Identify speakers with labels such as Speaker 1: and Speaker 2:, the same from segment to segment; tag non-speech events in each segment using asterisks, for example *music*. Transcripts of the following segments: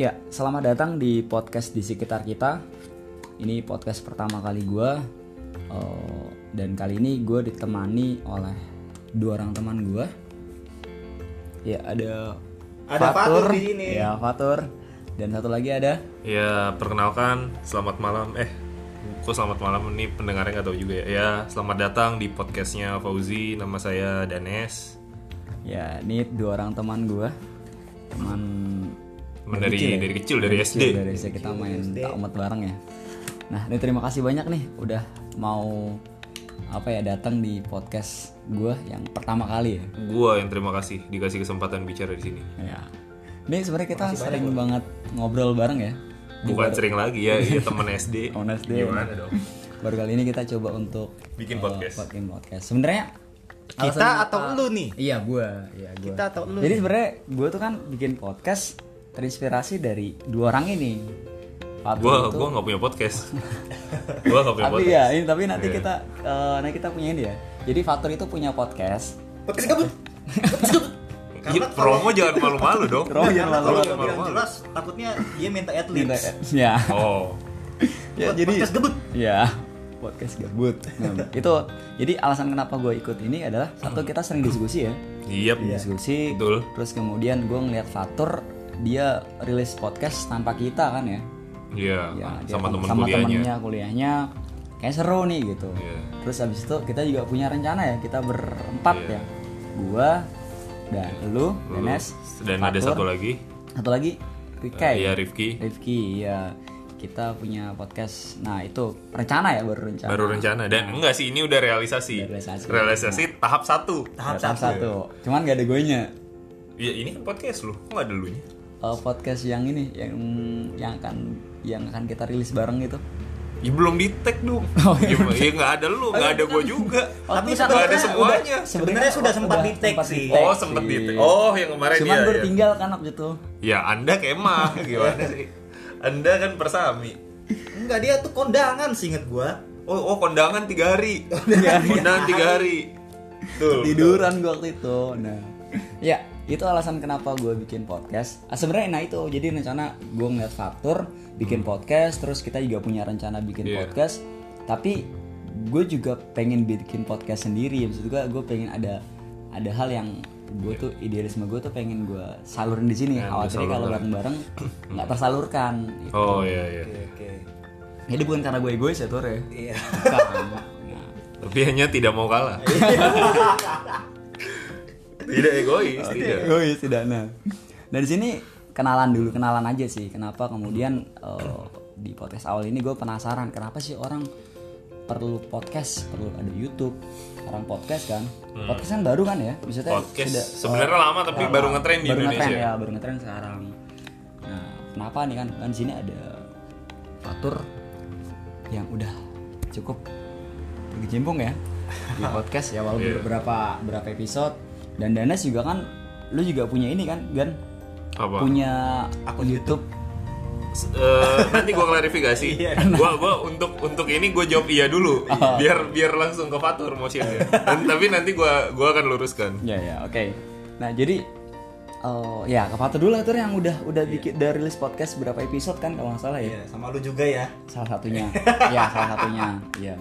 Speaker 1: Ya, selamat datang di podcast di sekitar kita. Ini podcast pertama kali gue, eh, dan kali ini gue ditemani oleh dua orang teman gue. Ya ada
Speaker 2: Ada Fatur di sini.
Speaker 1: ya Fatur, dan satu lagi ada.
Speaker 3: Ya, perkenalkan, selamat malam. Eh, kok selamat malam? Ini pendengarnya nggak tahu juga ya. Ya, selamat datang di podcastnya Fauzi. Nama saya Danes.
Speaker 1: Ya, ini dua orang teman gue, teman
Speaker 3: Teman dari-
Speaker 1: ya?
Speaker 3: dari kecil, dari
Speaker 1: kecil,
Speaker 3: SD.
Speaker 1: dari SD kita main takmet bareng ya. Nah, ini terima kasih banyak nih udah mau apa ya datang di podcast gue yang pertama kali ya.
Speaker 3: Gua yang terima kasih dikasih kesempatan bicara di sini.
Speaker 1: Ya. Ini sebenarnya kita sering banget ngobrol bareng ya.
Speaker 3: Bukan sering lagi ya, ya
Speaker 1: *laughs*
Speaker 3: teman SD.
Speaker 1: Teman SD.
Speaker 3: Gimana dong?
Speaker 1: Baru kali ini kita coba untuk
Speaker 3: Bikin
Speaker 1: eh,
Speaker 3: podcast.
Speaker 1: bikin podcast. Sebenarnya
Speaker 2: Kita atau lu nih?
Speaker 1: iya gua, iya gua.
Speaker 2: Kita atau lu?
Speaker 1: Jadi sebenarnya gua tuh kan bikin podcast terinspirasi dari dua orang ini. Fatul
Speaker 3: Gua
Speaker 1: itu-
Speaker 3: gua nggak punya
Speaker 1: *laughs*
Speaker 3: podcast. gua nggak punya
Speaker 1: tapi
Speaker 3: podcast.
Speaker 1: ya, ini tapi nanti kita eh, nanti kita punya ini ya. Jadi Fatur itu punya podcast.
Speaker 2: Podcast kabut.
Speaker 3: Ya, promo jangan malu-malu dong.
Speaker 1: Promo jangan
Speaker 2: Karena kalau
Speaker 3: Promo
Speaker 2: dia
Speaker 3: jangan
Speaker 2: bilang
Speaker 3: malu-malu.
Speaker 2: jelas, takutnya dia minta
Speaker 1: Minta-
Speaker 2: adlibs.
Speaker 1: Ya.
Speaker 3: Oh.
Speaker 1: ya
Speaker 2: Buat
Speaker 1: jadi
Speaker 2: podcast gebut.
Speaker 1: ya podcast gabut Nah, *laughs* itu jadi alasan kenapa gue ikut ini adalah satu kita sering diskusi ya
Speaker 3: Yep.
Speaker 1: diskusi
Speaker 3: iya. Betul.
Speaker 1: terus kemudian gue ngeliat Fatur dia rilis podcast tanpa kita kan ya
Speaker 3: Iya,
Speaker 1: ya dia
Speaker 3: sama
Speaker 1: tem-
Speaker 3: teman
Speaker 1: sama
Speaker 3: kuliahnya.
Speaker 1: temennya kuliahnya kayak seru nih gitu
Speaker 3: Iya.
Speaker 1: terus habis itu kita juga punya rencana ya kita berempat
Speaker 3: Iya.
Speaker 1: ya gue dan lu Enes
Speaker 3: Dan ada
Speaker 1: Fatur,
Speaker 3: satu lagi.
Speaker 1: satu lagi Rika
Speaker 3: Iya, Rifki.
Speaker 1: Rifki ya kita punya podcast nah itu rencana ya baru rencana Nah,
Speaker 3: baru rencana dan enggak sih ini udah
Speaker 1: Udah
Speaker 3: realisasi
Speaker 1: realisasi.
Speaker 3: Realisasi tahap satu
Speaker 1: tahap, satu cuman gak ada gonya
Speaker 3: ya ini podcast lu kok nggak ada lunya
Speaker 1: Eh, podcast yang ini yang yang akan yang akan kita rilis bareng itu
Speaker 3: ya belum di tag dong ya ma- ya nggak ada lu nggak
Speaker 1: kan
Speaker 3: ada gua juga
Speaker 2: Tapi
Speaker 1: itu
Speaker 3: nggak ada
Speaker 2: sebenarnya
Speaker 3: semuanya
Speaker 2: Sebenarnya sudah sempat
Speaker 1: udah
Speaker 2: di-tag
Speaker 1: sempat Iya.
Speaker 2: sih.
Speaker 1: di-tag
Speaker 3: oh sempet di
Speaker 1: sih.
Speaker 3: tag oh yang kemarin
Speaker 1: cuman
Speaker 3: ya, ya
Speaker 1: bertinggal kan waktu itu
Speaker 3: ya anda kemah gimana sih anda kan persami
Speaker 2: Enggak, dia tuh kondangan sih inget gua.
Speaker 3: oh oh kondangan tiga hari kondangan tiga hari tuh
Speaker 1: tiduran gua waktu itu nah ya itu alasan kenapa gue bikin podcast ah, sebenarnya nah itu jadi rencana gue ngeliat faktur bikin podcast terus kita juga punya rencana bikin
Speaker 3: Hmm. Iya.
Speaker 1: podcast tapi gue juga pengen bikin podcast sendiri maksud gue gue pengen ada ada hal yang gue tuh idealisme gue tuh pengen gue salurin di sini
Speaker 3: Iya. Pengen
Speaker 1: khawatirnya kalau
Speaker 3: disalurkan. *coughs*
Speaker 1: bareng-bareng nggak tersalurkan gitu.
Speaker 3: oh iya iya
Speaker 2: Oke.
Speaker 1: jadi bukan karena gue egois ya Tor ya
Speaker 2: Iya.
Speaker 1: Bukan. Nah,
Speaker 3: tapi hanya tidak mau kalah tidak egois tidak
Speaker 1: Egois tidak nah. Nah di sini kenalan dulu kenalan aja sih. Kenapa kemudian eh, di podcast awal ini gue penasaran kenapa sih orang perlu podcast perlu ada YouTube orang podcast kan podcast kan baru kan ya maksudnya
Speaker 3: Hmm. podcast
Speaker 1: sudah- eh,
Speaker 3: sebenarnya lama tapi baru ngetren di
Speaker 1: baru
Speaker 3: Indonesia.
Speaker 1: ngetren ya baru ngetren sekarang. Nah kenapa nih kan kan di sini ada fatur yang udah cukup berkecimpung ya
Speaker 3: *laughs*
Speaker 1: di podcast ya walaupun
Speaker 3: Iya.
Speaker 1: beberapa berapa episode dan Danes juga kan lu juga punya ini kan Gan
Speaker 3: Apa?
Speaker 1: punya akun YouTube
Speaker 3: S- eh, nanti gue klarifikasi.
Speaker 2: Iya.
Speaker 3: Gue gua untuk untuk ini gue jawab iya dulu,
Speaker 2: Ah.
Speaker 3: biar biar langsung ke Fatur motionnya. Dan- tapi nanti gue gua akan luruskan.
Speaker 1: ya ya oke nah jadi eh, ya ke Fatur dulu lah tuh yang udah
Speaker 3: Iya.
Speaker 1: udah bikin udah rilis podcast berapa episode kan kalau nggak salah ya
Speaker 2: Iya, sama lu juga ya.
Speaker 1: salah satunya ya salah satunya ya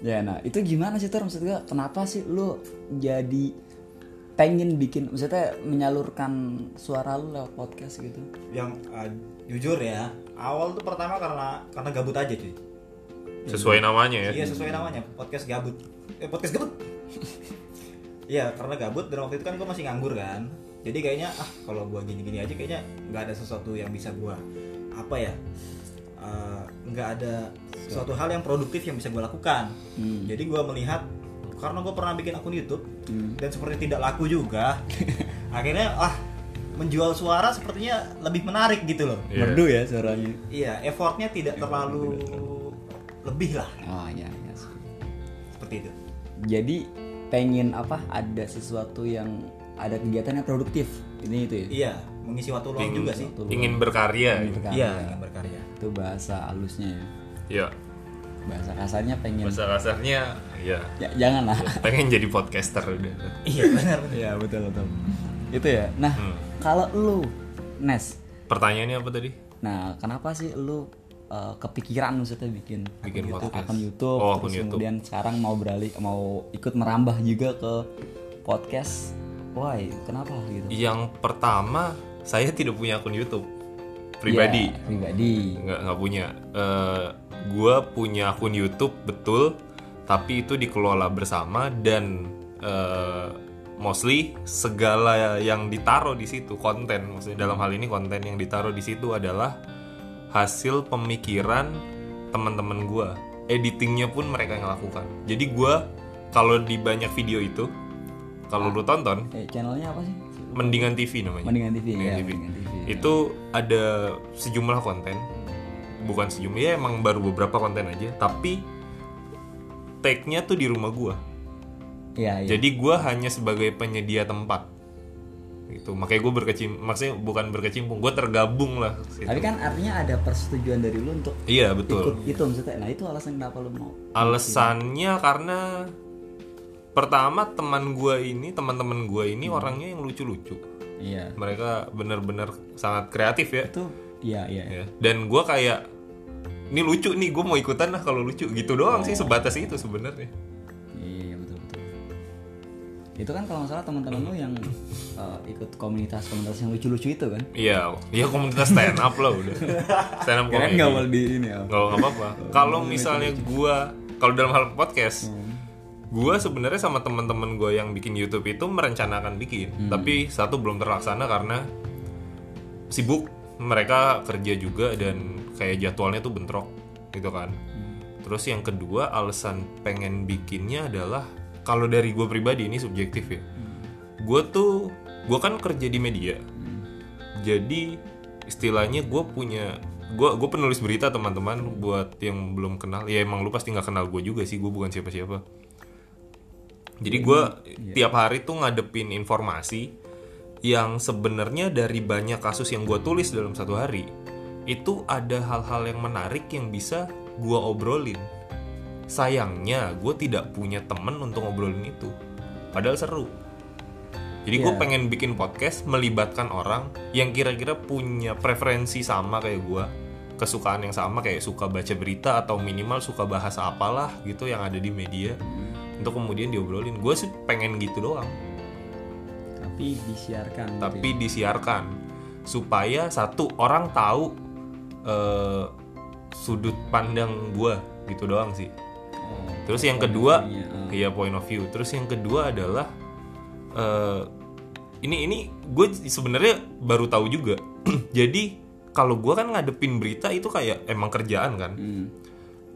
Speaker 1: ya nah itu gimana sih Tur maksud gua, kenapa sih lu jadi pengen bikin maksudnya menyalurkan suara lu lewat podcast gitu
Speaker 2: Yang uh, jujur ya, awal tuh pertama karena karena gabut aja cuy.
Speaker 3: Sesuai namanya ya.
Speaker 2: Iya sesuai namanya podcast gabut. Eh podcast *laughs* gabut. Iya karena gabut dan waktu itu kan gue masih nganggur kan. Jadi kayaknya ah kalau gue gini-gini aja kayaknya nggak ada sesuatu yang bisa gue apa ya eh, nggak ada suatu hal yang produktif yang bisa gue lakukan. Jadi gue melihat karena gue pernah bikin akun YouTube dan seperti tidak laku *laughs* juga. akhirnya ah menjual suara sepertinya lebih menarik gitu loh.
Speaker 3: Iya.
Speaker 1: merdu ya suaranya
Speaker 2: Iya effortnya tidak terlalu lebih lah
Speaker 1: oh ya ya
Speaker 2: seperti itu.
Speaker 1: jadi pengen apa ada sesuatu yang ada kegiatan yang produktif ini itu ya
Speaker 2: Iya, mengisi waktu luang juga sih.
Speaker 1: Waktu
Speaker 3: Ingin berkarya.
Speaker 1: luang
Speaker 3: gitu.
Speaker 1: berkarya.
Speaker 2: Iya, ingin berkarya.
Speaker 1: itu bahasa halusnya ya
Speaker 2: Iya.
Speaker 3: Ya.
Speaker 1: bahasa kasarnya pengen
Speaker 3: Bahasa kasarnya, ya
Speaker 1: ya, jangan lah
Speaker 3: pengen jadi podcaster udah.
Speaker 2: *laughs* Iya, benar.
Speaker 3: Hmm.
Speaker 1: Iya betul betul. Itu ya. Nah kalau lu Nes
Speaker 3: Pertanyaannya apa tadi?
Speaker 1: Nah, kenapa sih lu eh, kepikiran maksudnya bikin akun
Speaker 3: Bikin
Speaker 1: YouTube,
Speaker 3: podcast.
Speaker 1: akun YouTube,
Speaker 3: Oh, akun
Speaker 1: terus
Speaker 3: YouTube.
Speaker 1: kemudian sekarang mau beralih mau ikut merambah juga ke podcast? Why? Kenapa gitu?
Speaker 3: Yang pertama, saya tidak punya akun YouTube
Speaker 2: Iya.
Speaker 3: pribadi.
Speaker 1: Ya, pribadi.
Speaker 3: nggak nggak punya Eh, gua punya akun YouTube betul tapi itu dikelola bersama dan eh, mostly segala yang ditaruh di situ konten maksudnya dalam hal ini konten yang ditaruh di situ adalah hasil pemikiran teman-teman gua editingnya pun mereka yang lakukan jadi gua kalau di banyak video itu kalau lu tonton
Speaker 1: Eh, channelnya apa sih?
Speaker 3: mendingan TV namanya
Speaker 1: Mendingan TV ya.
Speaker 3: TV.
Speaker 1: Mendingan TV.
Speaker 3: itu ada sejumlah konten bukan sejumlah ya emang baru beberapa konten aja tapi take-nya tuh di rumah gua
Speaker 1: Iya, iya.
Speaker 3: jadi gua hanya sebagai penyedia tempat itu makanya gue berkecimpung maksudnya bukan berkecimpung gue tergabung lah ke situ.
Speaker 1: Tapi kan artinya ada persetujuan dari lu untuk
Speaker 3: iya betul
Speaker 1: ikut itu maksudnya. Nah, itu alasan kenapa lu mau.
Speaker 3: alasannya karena pertama teman gua ini teman-teman gua ini
Speaker 1: Hmm.
Speaker 3: orangnya yang lucu-lucu
Speaker 1: Iya.
Speaker 3: mereka benar-benar sangat kreatif ya
Speaker 1: Itu iya, iya.
Speaker 3: ya. dan gue kayak ini lucu nih gue mau ikutan lah kalau lucu gitu doang sih sebatas itu sebenarnya
Speaker 1: Iya betul betul. Itu kan kalau nggak salah teman-teman lu yang eh, ikut komunitas-komunitas yang lucu-lucu itu kan?
Speaker 3: iya ya komunitas stand up lah udah stand up
Speaker 1: Keren nggak
Speaker 3: comedy nggak
Speaker 1: wal di ini ya?
Speaker 3: nggak apa-apa kalau misalnya gue kalau dalam hal podcast gue sebenarnya sama teman-teman gue yang bikin YouTube itu merencanakan bikin tapi satu belum terlaksana karena sibuk mereka kerja juga dan kayak jadwalnya tuh bentrok gitu kan terus yang kedua alasan pengen bikinnya adalah kalau dari gue pribadi ini subjektif ya gue tuh gue kan kerja di media jadi istilahnya gue punya gue gue penulis berita teman-teman buat yang belum kenal ya emang lu pasti nggak kenal gue juga sih gue bukan siapa-siapa jadi gue tiap hari tuh ngadepin informasi yang sebenarnya dari banyak kasus yang gue tulis dalam satu hari itu ada hal-hal yang menarik yang bisa gue obrolin. Sayangnya gue tidak punya temen untuk ngobrolin itu. Padahal seru. Jadi gue
Speaker 1: Iya.
Speaker 3: pengen bikin podcast melibatkan orang yang kira-kira punya preferensi sama kayak gue, kesukaan yang sama kayak suka baca berita atau minimal suka bahasa apalah gitu yang ada di media untuk kemudian diobrolin. Gue sih pengen gitu doang,
Speaker 1: Tapi disiarkan. gitu
Speaker 3: tapi disiarkan supaya satu orang tahu eh, sudut pandang gue gitu doang sih.
Speaker 1: ya. Oh,
Speaker 3: Terus yang kedua,
Speaker 1: iya, ah.
Speaker 3: iya point of view. Terus yang kedua adalah eh, ini ini gue sebenarnya baru tahu juga. *clears throat* Jadi kalau gue kan ngadepin berita itu kayak emang kerjaan kan.
Speaker 1: Hmm.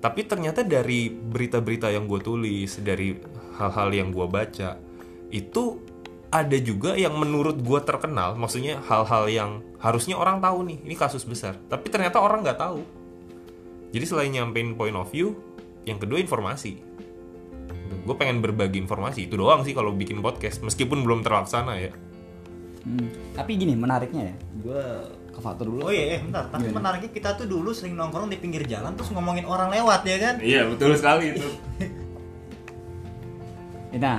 Speaker 3: Tapi ternyata dari berita-berita yang gue tulis, dari hal-hal yang gue baca, itu ada juga yang menurut gue terkenal, maksudnya hal-hal yang harusnya orang tahu nih, ini kasus besar. Tapi ternyata orang nggak tahu. Jadi selain nyampein point of view, yang kedua informasi. Gue pengen berbagi informasi itu doang sih kalau bikin podcast, meskipun belum terlaksana ya.
Speaker 1: Hmm. Tapi gini menariknya ya, gue ke faktor dulu.
Speaker 2: Oh iya, iya bentar. Tapi
Speaker 1: Gimana?
Speaker 2: menariknya kita tuh dulu sering nongkrong di pinggir jalan terus ngomongin orang lewat ya kan?
Speaker 3: Iya betul sekali itu.
Speaker 1: Nah,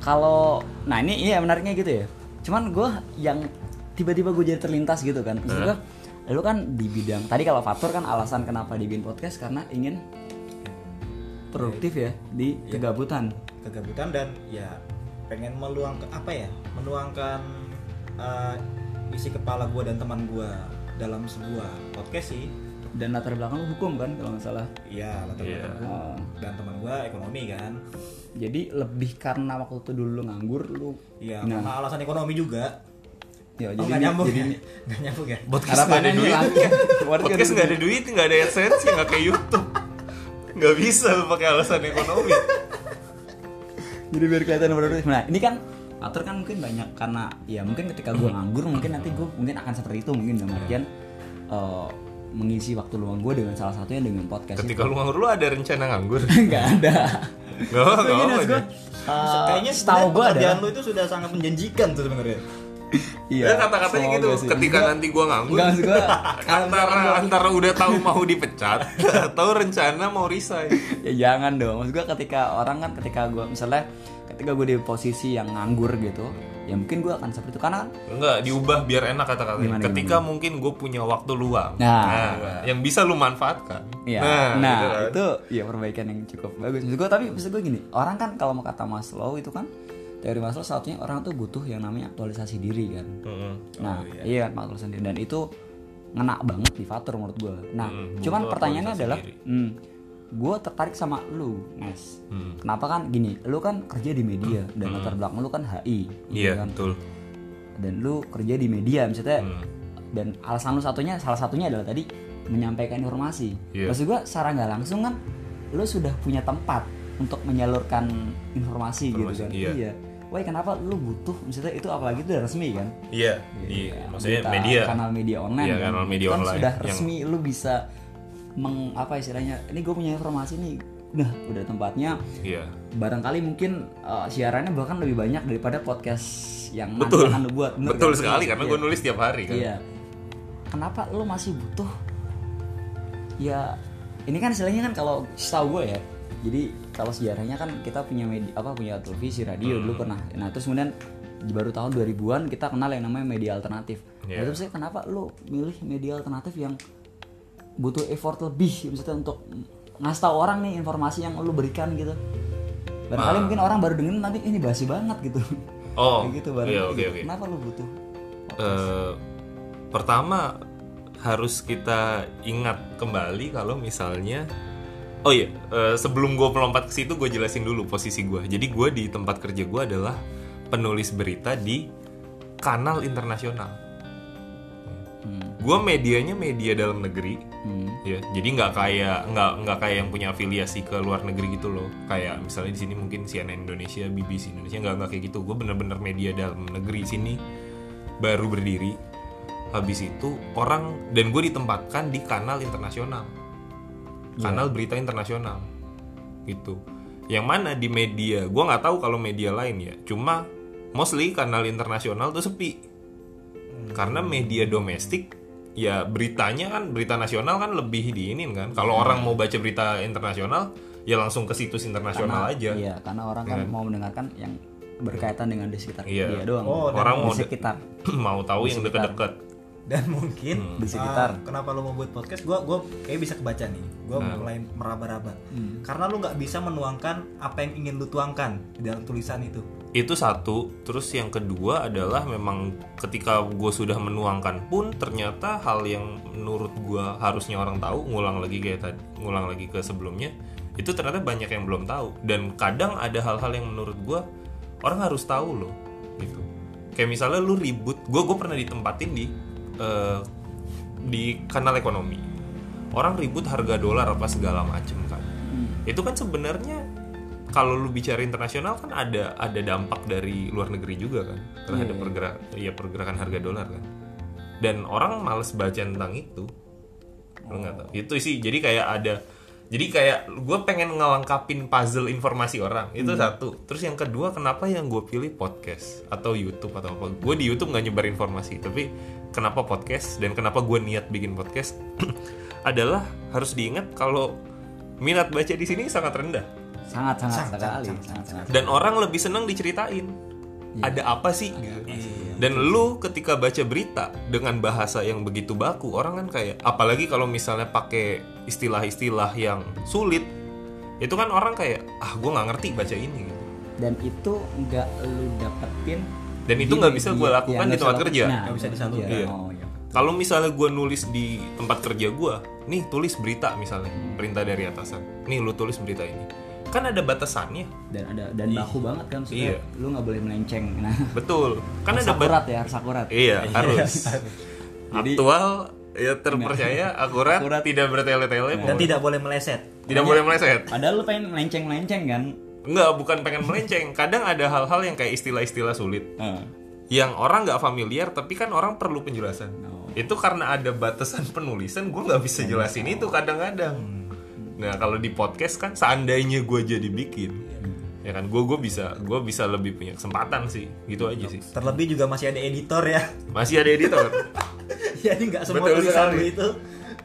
Speaker 1: kalau nah ini iya menariknya gitu ya. Cuman gue yang tiba-tiba gue jadi terlintas gitu kan. Maksud
Speaker 2: Eh.
Speaker 1: gua, lu kan di bidang tadi kalau faktor kan alasan kenapa dibikin podcast karena ingin produktif ya di
Speaker 2: Iya.
Speaker 1: kegabutan.
Speaker 2: Kegabutan dan ya pengen meluangkan apa ya? Menuangkan eh, isi kepala gua dan teman gua dalam sebuah podcast sih.
Speaker 1: Dan latar belakang lu hukum kan kalau nggak salah. Eh,
Speaker 2: Iya, latar
Speaker 3: Iya.
Speaker 2: belakang gua dan teman gua ekonomi kan.
Speaker 1: Jadi lebih karena waktu itu dulu lu nganggur lu.
Speaker 2: Iya,
Speaker 1: Nah.
Speaker 2: karena alasan ekonomi juga.
Speaker 1: Ya,
Speaker 2: Oh, nggak nyambung
Speaker 1: jadi
Speaker 2: ya? *laughs* Nggak nyambung ya?
Speaker 3: Podcast nggak ada
Speaker 1: harapannya
Speaker 3: duit.
Speaker 1: langsung.
Speaker 3: Podcast nggak ada duit, nggak ada adsense, nggak kayak YouTube. Nggak bisa lu pakai alasan ekonomi.
Speaker 1: jadi biar kelihatan produktif nah ini kan atur kan mungkin banyak karena ya mungkin ketika gue nganggur mungkin nanti gue mungkin akan seperti itu mungkin
Speaker 3: Iya.
Speaker 1: dalam artian eh, mengisi waktu luang gue dengan salah satunya dengan podcast
Speaker 3: Iya Ketika lu nganggur, lu ada rencana nganggur?
Speaker 1: *laughs* nggak ada
Speaker 3: Gak apa-apa.
Speaker 1: Gini,
Speaker 3: gak
Speaker 1: maksud
Speaker 3: apa-apa.
Speaker 1: gua, eh,
Speaker 2: Kayaknya
Speaker 1: setahu
Speaker 2: sebenarnya
Speaker 1: gue ada Iya,
Speaker 2: pekerjaan lu itu sudah sangat menjanjikan tuh sebenarnya.
Speaker 3: Ya kata-katanya gitu.
Speaker 1: semoga sih.
Speaker 3: Ketika nanti gua nganggur,
Speaker 1: Enggak maksud gue kalau
Speaker 3: *laughs* antara antara udah tahu mau
Speaker 1: *laughs*
Speaker 3: dipecat atau rencana mau resign.
Speaker 1: ya jangan dong maksud gue ketika orang kan ketika gue misalnya ketika gue di posisi yang nganggur gitu ya mungkin gue akan seperti itu karena kan
Speaker 3: Enggak, diubah biar enak kata-katanya.
Speaker 1: Gimana,
Speaker 3: Ketika mungkin gue punya waktu luang.
Speaker 1: Nah.
Speaker 3: yang bisa lu manfaatkan. gitu
Speaker 1: ya nah,
Speaker 3: kan.
Speaker 1: itu ya perbaikan yang cukup bagus maksud gue tapi maksud gue gini orang kan kalau mau kata Maslow itu kan teori Maslow satunya orang tuh butuh yang namanya aktualisasi diri kan nah iya kan Maslow sendiri dan itu ngena banget di Fatur menurut gue nah cuman
Speaker 3: butuh
Speaker 1: pertanyaannya
Speaker 3: aktualisasi
Speaker 1: adalah
Speaker 3: diri.
Speaker 1: hmm, gue tertarik sama lu Mas
Speaker 3: Hmm.
Speaker 1: kenapa kan gini lu kan kerja di media dan latar belakang lu kan HI
Speaker 3: Iya,
Speaker 1: kan?
Speaker 3: betul.
Speaker 1: dan lu kerja di media misalnya
Speaker 3: Hmm.
Speaker 1: dan alasan lu satunya salah satunya adalah tadi menyampaikan informasi
Speaker 3: Iya.
Speaker 1: maksud gua secara nggak langsung kan lu sudah punya tempat untuk menyalurkan informasi, gitu
Speaker 3: Informasi,
Speaker 1: kan
Speaker 3: iya.
Speaker 1: Woi kenapa lu butuh misalnya itu apalagi itu udah resmi kan?
Speaker 3: Iya, di
Speaker 1: Ya,
Speaker 3: maksudnya
Speaker 1: berita,
Speaker 3: media.
Speaker 1: Kanal media online.
Speaker 3: Iya,
Speaker 1: kan?
Speaker 3: kanal media
Speaker 1: Itu kan
Speaker 3: online
Speaker 1: Sudah
Speaker 3: yang-
Speaker 1: resmi lu bisa meng apa istilahnya? Ini gue punya informasi nih. Nah, udah tempatnya.
Speaker 3: Iya.
Speaker 1: Barangkali mungkin eh, siarannya bahkan lebih banyak daripada podcast yang nanti
Speaker 3: Betul.
Speaker 1: akan lu buat. Bener
Speaker 3: Betul
Speaker 1: kan?
Speaker 3: sekali karena
Speaker 1: Iya.
Speaker 3: gue nulis tiap hari kan.
Speaker 1: Iya. Kenapa lu masih butuh? Ya, ini kan istilahnya kan kalau setahu gue ya. Jadi kalau sejarahnya kan kita punya media apa punya televisi,
Speaker 3: Hmm.
Speaker 1: radio dulu pernah. Nah, terus kemudian di baru tahun 2000-an kita kenal yang namanya media alternatif. Nah,
Speaker 3: Iya.
Speaker 1: terus saya, kenapa lu milih media alternatif yang butuh effort lebih misalnya untuk ngasih tahu orang nih informasi yang lu berikan gitu. Barangkali mungkin orang baru dengerin nanti ini basi banget gitu.
Speaker 3: Ah. Oh.
Speaker 1: Kayak gitu baru.
Speaker 3: Iya, oke oke.
Speaker 1: Kenapa lu butuh?
Speaker 3: Eh, pertama harus kita ingat kembali kalau misalnya oh iya eh, sebelum gue melompat ke situ gue jelasin dulu posisi gue jadi gue di tempat kerja gue adalah penulis berita di kanal internasional
Speaker 1: Hmm.
Speaker 3: gue medianya media dalam negeri
Speaker 1: Hmm.
Speaker 3: ya jadi nggak kayak nggak nggak kayak yang punya afiliasi ke luar negeri gitu loh kayak misalnya di sini mungkin CNN Indonesia BBC Indonesia nggak nggak kayak gitu gue bener-bener media dalam negeri sini baru berdiri habis itu orang dan gue ditempatkan di kanal internasional
Speaker 1: Iya.
Speaker 3: kanal berita internasional gitu yang mana di media gue nggak tahu kalau media lain ya cuma mostly kanal internasional tuh sepi
Speaker 1: Hmm.
Speaker 3: karena media domestik ya beritanya kan berita nasional kan lebih diinin kan
Speaker 1: Iya.
Speaker 3: kalau orang mau baca berita internasional ya langsung ke situs internasional aja
Speaker 1: Iya, karena orang kan mau mendengarkan yang berkaitan dengan di sekitar
Speaker 3: Iya.
Speaker 1: dia doang.
Speaker 2: Oh, dan
Speaker 3: Orang
Speaker 1: di
Speaker 3: mau de-
Speaker 1: sekitar.
Speaker 3: *clears throat* mau tahu yang deket-deket
Speaker 2: dan mungkin
Speaker 1: Di
Speaker 2: ah,
Speaker 1: sekitar.
Speaker 2: kenapa lo mau buat podcast gue gue kayak bisa kebaca nih gue mulai meraba-raba karena lo nggak bisa menuangkan apa yang ingin lo tuangkan di dalam tulisan itu
Speaker 3: itu satu terus yang kedua adalah memang ketika gue sudah menuangkan pun ternyata hal yang menurut gue harusnya orang tahu ngulang lagi kayak tadi ngulang lagi ke sebelumnya itu ternyata banyak yang belum tahu dan kadang ada hal-hal yang menurut gue orang harus tahu loh gitu kayak misalnya lu ribut gue gue pernah ditempatin di eh, di kanal ekonomi orang ribut harga dolar apa segala macem kan itu kan sebenarnya kalau lu bicara internasional kan ada ada dampak dari luar negeri juga kan terhadap pergerak ya pergerakan harga dolar kan dan orang males baca tentang itu lu nggak tahu itu sih jadi kayak ada jadi kayak gue pengen ngelengkapin puzzle informasi orang itu satu terus yang kedua kenapa yang gue pilih podcast atau YouTube atau apa gue di YouTube nggak nyebar informasi tapi kenapa podcast dan kenapa gue niat bikin podcast *clears throat* adalah harus diingat kalau minat baca di sini sangat rendah
Speaker 1: Sangat sangat
Speaker 2: Sangat,
Speaker 1: sekali,
Speaker 2: sangat,
Speaker 1: sangat sangat.
Speaker 3: dan orang lebih senang diceritain Iya. ada apa sih iya. dan lu ketika baca berita dengan bahasa yang begitu baku orang kan kayak apalagi kalau misalnya pakai istilah-istilah yang sulit itu kan orang kayak ah gue nggak ngerti baca ini gitu.
Speaker 1: Dan itu nggak lu dapetin
Speaker 3: dan itu
Speaker 1: di
Speaker 3: nggak bisa
Speaker 1: media.
Speaker 3: gue
Speaker 1: Ya,
Speaker 3: lakukan di
Speaker 1: nggak
Speaker 3: tempat
Speaker 1: bisa
Speaker 3: kerja
Speaker 1: lakukan. Nah,
Speaker 2: Nggak bisa disalurkan.
Speaker 1: iya.
Speaker 3: Iya.
Speaker 1: Oh, iya.
Speaker 3: kalau misalnya gue nulis di tempat kerja gue nih tulis berita misalnya perintah dari atasan nih lu tulis berita ini kan ada batasannya
Speaker 1: Dan ada dan baku banget kan maksudnya
Speaker 3: Iya.
Speaker 1: lu nggak boleh melenceng. *laughs* Nah,
Speaker 3: betul kan
Speaker 1: harus
Speaker 3: ada bat-
Speaker 1: akurat ya, harus akurat.
Speaker 3: Iya, harus. Aktual, ya terpercaya, akurat,
Speaker 1: Akurat.
Speaker 3: tidak
Speaker 2: dan
Speaker 3: bertele-tele, pokoknya.
Speaker 2: tidak boleh meleset
Speaker 3: tidak boleh meleset.
Speaker 1: Padahal lu pengen melenceng-melenceng kan?
Speaker 3: Enggak, bukan pengen melenceng. Kadang ada hal-hal yang kayak istilah-istilah sulit
Speaker 1: Heeh.
Speaker 3: yang orang nggak familiar, tapi kan orang perlu penjelasan. Itu karena ada batasan penulisan, gue nggak bisa jelasin itu kadang-kadang. Nah, kalau di podcast kan seandainya gue jadi bikin, ya kan gue gue bisa gue bisa lebih punya kesempatan sih gitu aja sih
Speaker 2: Terlebih juga masih ada editor ya. *laughs*
Speaker 3: masih ada editor
Speaker 2: Jadi nggak semua
Speaker 3: Betul
Speaker 2: tulisan
Speaker 3: sekali.
Speaker 2: lu itu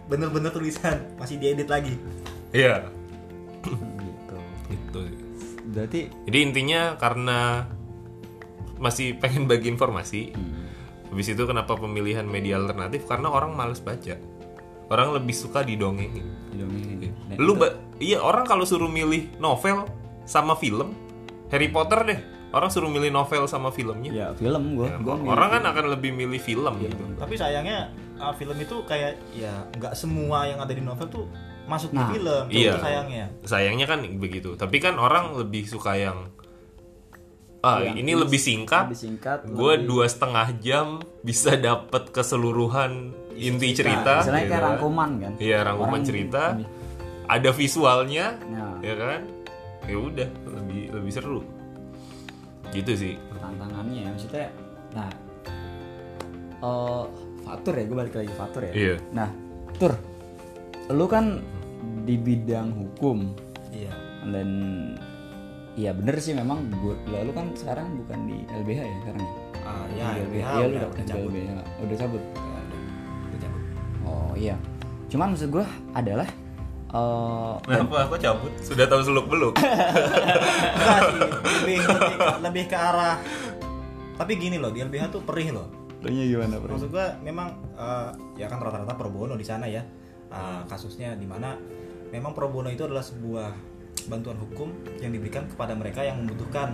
Speaker 2: bener-bener tulisan, masih diedit lagi.
Speaker 3: iya
Speaker 1: gitu
Speaker 3: gitu sih
Speaker 1: berarti
Speaker 3: jadi intinya karena masih pengen bagi informasi
Speaker 1: Hmm.
Speaker 3: habis itu kenapa pemilihan media alternatif karena orang males baca orang lebih suka didongengin
Speaker 1: didongengin. Nah,
Speaker 3: Iya. lu ba- iya orang kalau suruh milih novel sama film Harry Potter deh orang suruh milih novel sama filmnya
Speaker 1: ya film Iya. gua gua
Speaker 3: orang kan akan lebih milih film gitu
Speaker 2: Tapi sayangnya ah, film itu kayak ya nggak semua yang ada di novel tuh masuk
Speaker 1: Nah,
Speaker 2: di film. Tuh,
Speaker 3: iya.
Speaker 2: itu sayangnya.
Speaker 3: sayangnya kan begitu tapi kan orang lebih suka yang ah
Speaker 1: Yang
Speaker 3: ini lebih singkat
Speaker 1: lebih singkat,
Speaker 3: gue
Speaker 1: lebih-
Speaker 3: dua setengah jam bisa dapat keseluruhan inti Iya, cerita
Speaker 1: Nah, Misalnya
Speaker 3: ya
Speaker 1: kayak
Speaker 3: kan?
Speaker 1: rangkuman kan
Speaker 3: Iya, rangkuman
Speaker 1: Orang-
Speaker 3: cerita ada visualnya
Speaker 1: Nah.
Speaker 3: ya kan ya udah lebih lebih seru gitu sih
Speaker 1: tantangannya ya maksudnya nah eh fatur ya gue balik lagi fatur ya
Speaker 3: Iya.
Speaker 1: nah tur lu kan di bidang hukum
Speaker 2: Iya.
Speaker 1: dan Iya bener sih memang gua, lah, lu kan sekarang bukan di LBH ya sekarang ya?
Speaker 2: Ah, ya,
Speaker 1: Di LBH,
Speaker 2: LBH
Speaker 1: iya, lu
Speaker 2: udah-
Speaker 1: udah,
Speaker 2: udah
Speaker 1: di
Speaker 2: cabut.
Speaker 1: LBH. Oh, udah cabut.
Speaker 2: Udah cabut.
Speaker 1: Oh iya. Cuman maksud gue adalah eh
Speaker 3: Kenapa? Kok Nah, cabut? Sudah tahu seluk
Speaker 1: *laughs*
Speaker 3: beluk?
Speaker 2: Enggak sih, *laughs* lebih, lebih, lebih ke arah tapi gini loh di LBH tuh perih loh
Speaker 1: gimana bro?
Speaker 2: maksud gua memang eh, ya kan rata-rata perbono di sana ya Eh, kasusnya di mana memang perbono itu adalah sebuah bantuan hukum yang diberikan kepada mereka yang membutuhkan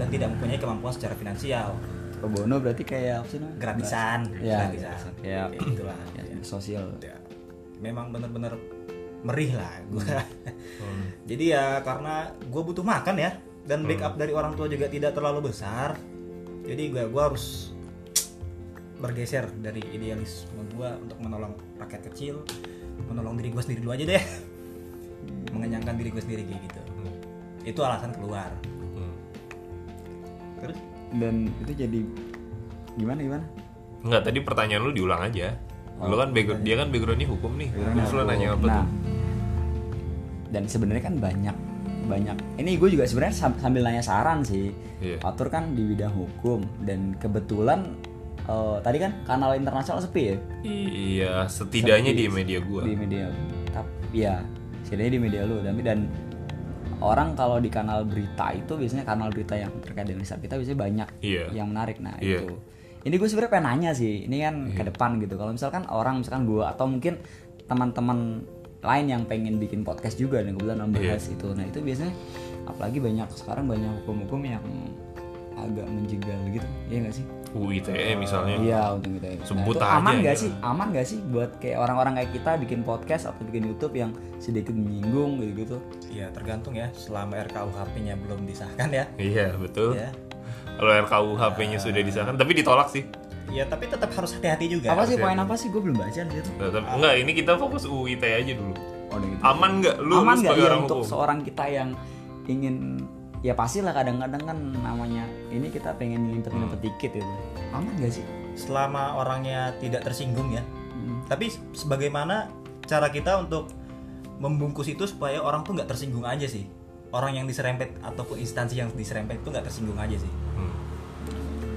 Speaker 2: dan tidak mempunyai kemampuan secara finansial
Speaker 1: Bono berarti kayak apa sih namanya?
Speaker 2: gratisan
Speaker 1: Ya,
Speaker 2: gratisan
Speaker 1: gratisan. Ya.
Speaker 2: Kayak gitulah
Speaker 1: Ya,
Speaker 2: Ya.
Speaker 1: sosial.
Speaker 2: Ya, memang bener-bener merih lah
Speaker 1: Hmm.
Speaker 2: gua. *laughs* jadi ya karena gue butuh makan ya dan
Speaker 1: Hmm.
Speaker 2: backup dari orang tua juga tidak terlalu besar jadi gue gua harus bergeser dari idealisme gue untuk menolong rakyat kecil menolong diri gue sendiri dulu aja deh
Speaker 1: Hmm.
Speaker 2: mengenyangkan diri gue sendiri kayak gitu itu alasan keluar
Speaker 3: Hmm.
Speaker 2: terus
Speaker 1: Dan itu jadi gimana gimana?
Speaker 3: Enggak, tadi pertanyaan lu diulang aja.
Speaker 1: Oh,
Speaker 3: lu kan background, dia kan backgroundnya hukum nih. Terus lu nanya apa
Speaker 1: iya. Nah,
Speaker 3: tuh?
Speaker 1: dan sebenarnya kan banyak banyak. Ini gue juga sebenarnya sam- sambil nanya saran sih.
Speaker 3: Iya.
Speaker 1: Fatur kan di bidang hukum dan kebetulan eh, tadi kan kanal internasional sepi ya
Speaker 3: Iya, setidaknya di
Speaker 1: Sepi.
Speaker 3: media gua.
Speaker 1: di media. Tapi ya, setidaknya di media lu tapi dan orang kalau di kanal berita itu biasanya kanal berita yang terkait dengan riset kita biasanya banyak
Speaker 3: Iya.
Speaker 1: yang menarik nah
Speaker 3: Iya.
Speaker 1: itu ini gue sebenarnya pengen nanya sih ini kan ke depan gitu kalau misalkan orang misalkan gue atau mungkin teman-teman lain yang pengen bikin podcast juga dan kebetulan
Speaker 3: Iya.
Speaker 1: membahas itu nah itu biasanya apalagi banyak sekarang banyak hukum-hukum yang agak menjegal gitu iya gak sih
Speaker 3: UITE E misalnya.
Speaker 1: Iya untuk kita ya.
Speaker 3: Sebut
Speaker 1: itu
Speaker 3: aja
Speaker 1: aman nggak
Speaker 3: ya.
Speaker 1: sih? Aman nggak sih buat kayak orang-orang kayak kita bikin podcast atau bikin YouTube yang sedikit menyinggung gitu-gitu?
Speaker 2: ya tergantung ya selama RKUHP-nya belum disahkan ya
Speaker 3: Iya, betul.
Speaker 2: ya
Speaker 3: Kalau RKUHP-nya sudah disahkan, tapi ditolak sih.
Speaker 2: ya tapi tetap harus hati-hati juga
Speaker 3: Ya,
Speaker 1: apa sih poin apa sih? Gue belum baca di situ.
Speaker 3: Tetap, enggak, ini kita fokus UITE aja dulu.
Speaker 1: Oh, udah gitu.
Speaker 3: Aman nggak lu, lu
Speaker 1: aman nggak
Speaker 3: sebagai
Speaker 1: ya
Speaker 3: orang
Speaker 1: untuk
Speaker 3: hukum?
Speaker 1: seorang kita yang ingin ya pastilah kadang-kadang kan namanya ini kita pengen
Speaker 3: Hmm.
Speaker 1: limpet-limpet dikit gitu. Aman nggak sih? Hmm,
Speaker 2: selama orangnya tidak tersinggung ya. Tapi se- sebagaimana cara kita untuk membungkus itu supaya orang tuh nggak tersinggung aja sih. Orang yang diserempet ataupun instansi yang diserempet itu nggak tersinggung aja sih.
Speaker 3: Hmm.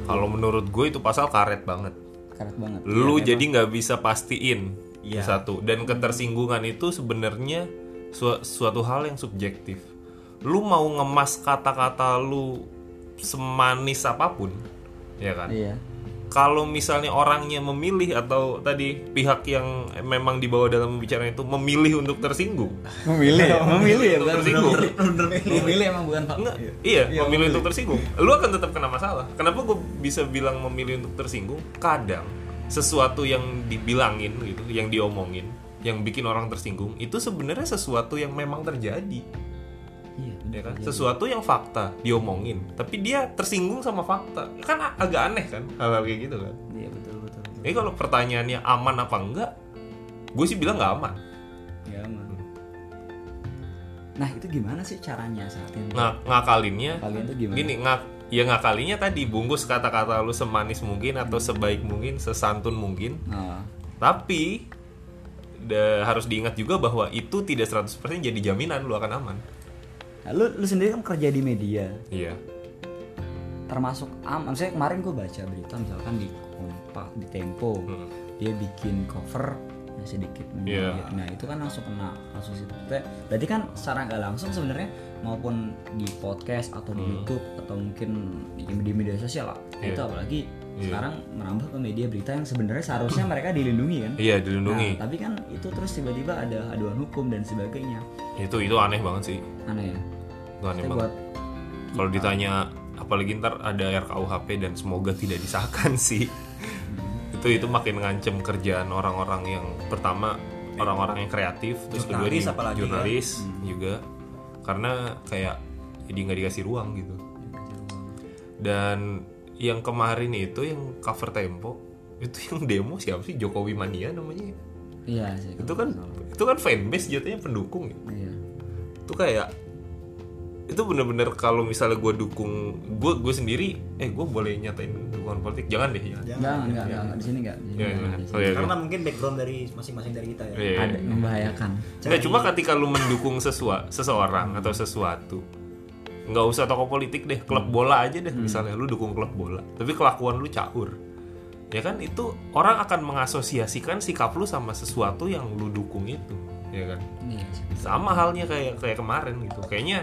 Speaker 3: Kalau menurut gue itu pasal karet banget.
Speaker 1: Karet banget. Iya,
Speaker 3: lu jadi nggak bisa pastiin
Speaker 2: Iya.
Speaker 3: satu dan ketersinggungan itu sebenarnya su- suatu hal yang subjektif lu mau ngemas kata-kata lu semanis apapun ya kan *laughs*
Speaker 1: Iya.
Speaker 3: kalau misalnya orangnya memilih atau tadi pihak yang memang dibawa dalam pembicaraan itu memilih untuk tersinggung
Speaker 1: Memilih, ya? *laughs* memilih ya
Speaker 3: Untuk
Speaker 1: bukan
Speaker 3: tersinggung.
Speaker 2: *laughs*
Speaker 1: Memilih emang bukan pak.
Speaker 3: Enggak, iya, memilih untuk tersinggung. Lu akan tetap kena masalah. Kenapa gue bisa bilang memilih untuk tersinggung? Kadang sesuatu yang dibilangin gitu, yang diomongin, yang bikin orang tersinggung itu sebenarnya sesuatu yang memang terjadi,
Speaker 1: Iya.
Speaker 3: ya kan? Sesuatu yang fakta diomongin, tapi dia tersinggung sama fakta. Kan a- agak aneh kan hal-hal kayak gitu kan.
Speaker 1: Iya betul betul. betul.
Speaker 3: Jadi kalau pertanyaannya aman apa enggak, gue sih bilang nggak aman.
Speaker 1: Ya aman. Nah itu gimana sih caranya saat ini?
Speaker 3: Nga- ngakalinnya
Speaker 1: Kalian tuh gimana?
Speaker 3: Nah, gini ngak ya ngakalinya tadi bungkus kata-kata lu semanis mungkin atau
Speaker 1: Hmm.
Speaker 3: sebaik mungkin sesantun mungkin
Speaker 1: Nah,
Speaker 3: tapi da- harus diingat juga bahwa itu tidak 100% jadi jaminan lu akan aman
Speaker 1: Nah, lu lu sendiri kan kerja di media,
Speaker 3: Iya.
Speaker 1: termasuk am, maksudnya kemarin gue baca berita misalkan di Kompas, di Tempo, dia bikin cover yang sedikit
Speaker 3: Hmm. Iya.
Speaker 1: menyindir. Nah itu kan langsung kena langsung situ. Te- Berarti kan secara nggak langsung sebenarnya maupun di podcast atau di YouTube atau mungkin di, di media sosial lah.
Speaker 3: Hmm. Iya.
Speaker 1: Itu apalagi sekarang merambah ke media berita yang sebenarnya seharusnya mereka dilindungi kan.
Speaker 3: Iya dilindungi.
Speaker 1: Nah, tapi kan itu terus tiba-tiba ada aduan hukum dan sebagainya.
Speaker 3: Itu itu aneh banget sih.
Speaker 1: Aneh ya.
Speaker 3: Itu aneh
Speaker 1: Kita
Speaker 3: banget.
Speaker 1: buat
Speaker 3: Kalau ditanya apalagi ntar ada RKUHP dan semoga tidak disahkan *laughs* sih. itu itu makin ngancem kerjaan orang-orang yang pertama orang-orang yang kreatif terus kedua
Speaker 2: Jurnalis
Speaker 3: di-
Speaker 2: apalagi ya.
Speaker 3: jurnalis juga karena kayak jadi nggak dikasih ruang gitu. Dan yang kemarin itu yang cover Tempo itu yang demo siapa sih Jokowi Mania namanya? ya?
Speaker 1: iya sih.
Speaker 3: Itu kan itu kan fanbase jatuhnya pendukung ya
Speaker 1: iya.
Speaker 3: itu kayak itu bener-bener kalau misalnya gue dukung gue gue sendiri eh gue boleh nyatain dukungan politik jangan deh jangan.
Speaker 1: Enggak, enggak, enggak, enggak, di sini enggak. Di sini
Speaker 3: Ya,
Speaker 1: enggak,
Speaker 3: gimana?
Speaker 1: di sini.
Speaker 3: Oh, iya,
Speaker 2: karena mungkin background dari masing-masing dari kita ya
Speaker 3: iya. Iya,
Speaker 1: Ada
Speaker 3: iya.
Speaker 1: membahayakan.
Speaker 3: Nggak, cuma ketika lu mendukung sesua, seseorang atau sesuatu nggak usah tokoh politik deh klub bola aja deh misalnya lu dukung klub bola tapi kelakuan lu caur ya kan itu orang akan mengasosiasikan sikap lu sama sesuatu yang lu dukung itu ya kan
Speaker 1: Iya. sih.
Speaker 3: sama halnya kayak kayak kemarin gitu kayaknya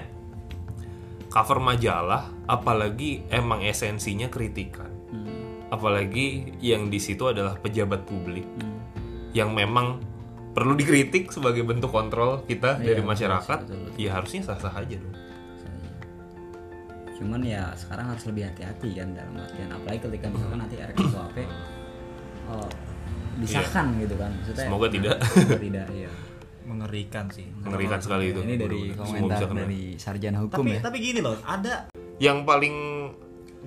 Speaker 3: cover majalah apalagi emang esensinya kritikan
Speaker 1: Hmm.
Speaker 3: apalagi yang di situ adalah pejabat publik
Speaker 1: Hmm.
Speaker 3: yang memang perlu dikritik sebagai bentuk kontrol kita
Speaker 1: Iya,
Speaker 3: dari masyarakat
Speaker 1: betul, betul,
Speaker 3: ya harusnya sah-sah aja dong
Speaker 1: Cuman ya sekarang harus lebih hati-hati kan dalam artian apalagi ketika misalkan nanti RKUHP oh, disahkan gitu kan. Maksudnya
Speaker 3: Iya. Semoga tidak.
Speaker 1: Semoga tidak, iya.
Speaker 2: mengerikan sih
Speaker 3: mengerikan sekali itu
Speaker 1: Ini dari
Speaker 3: Mudah-mudahan semua
Speaker 1: komentar
Speaker 3: bisa kena.
Speaker 1: dari sarjana hukum
Speaker 2: tapi
Speaker 1: ya.
Speaker 2: tapi gini loh ada
Speaker 3: yang paling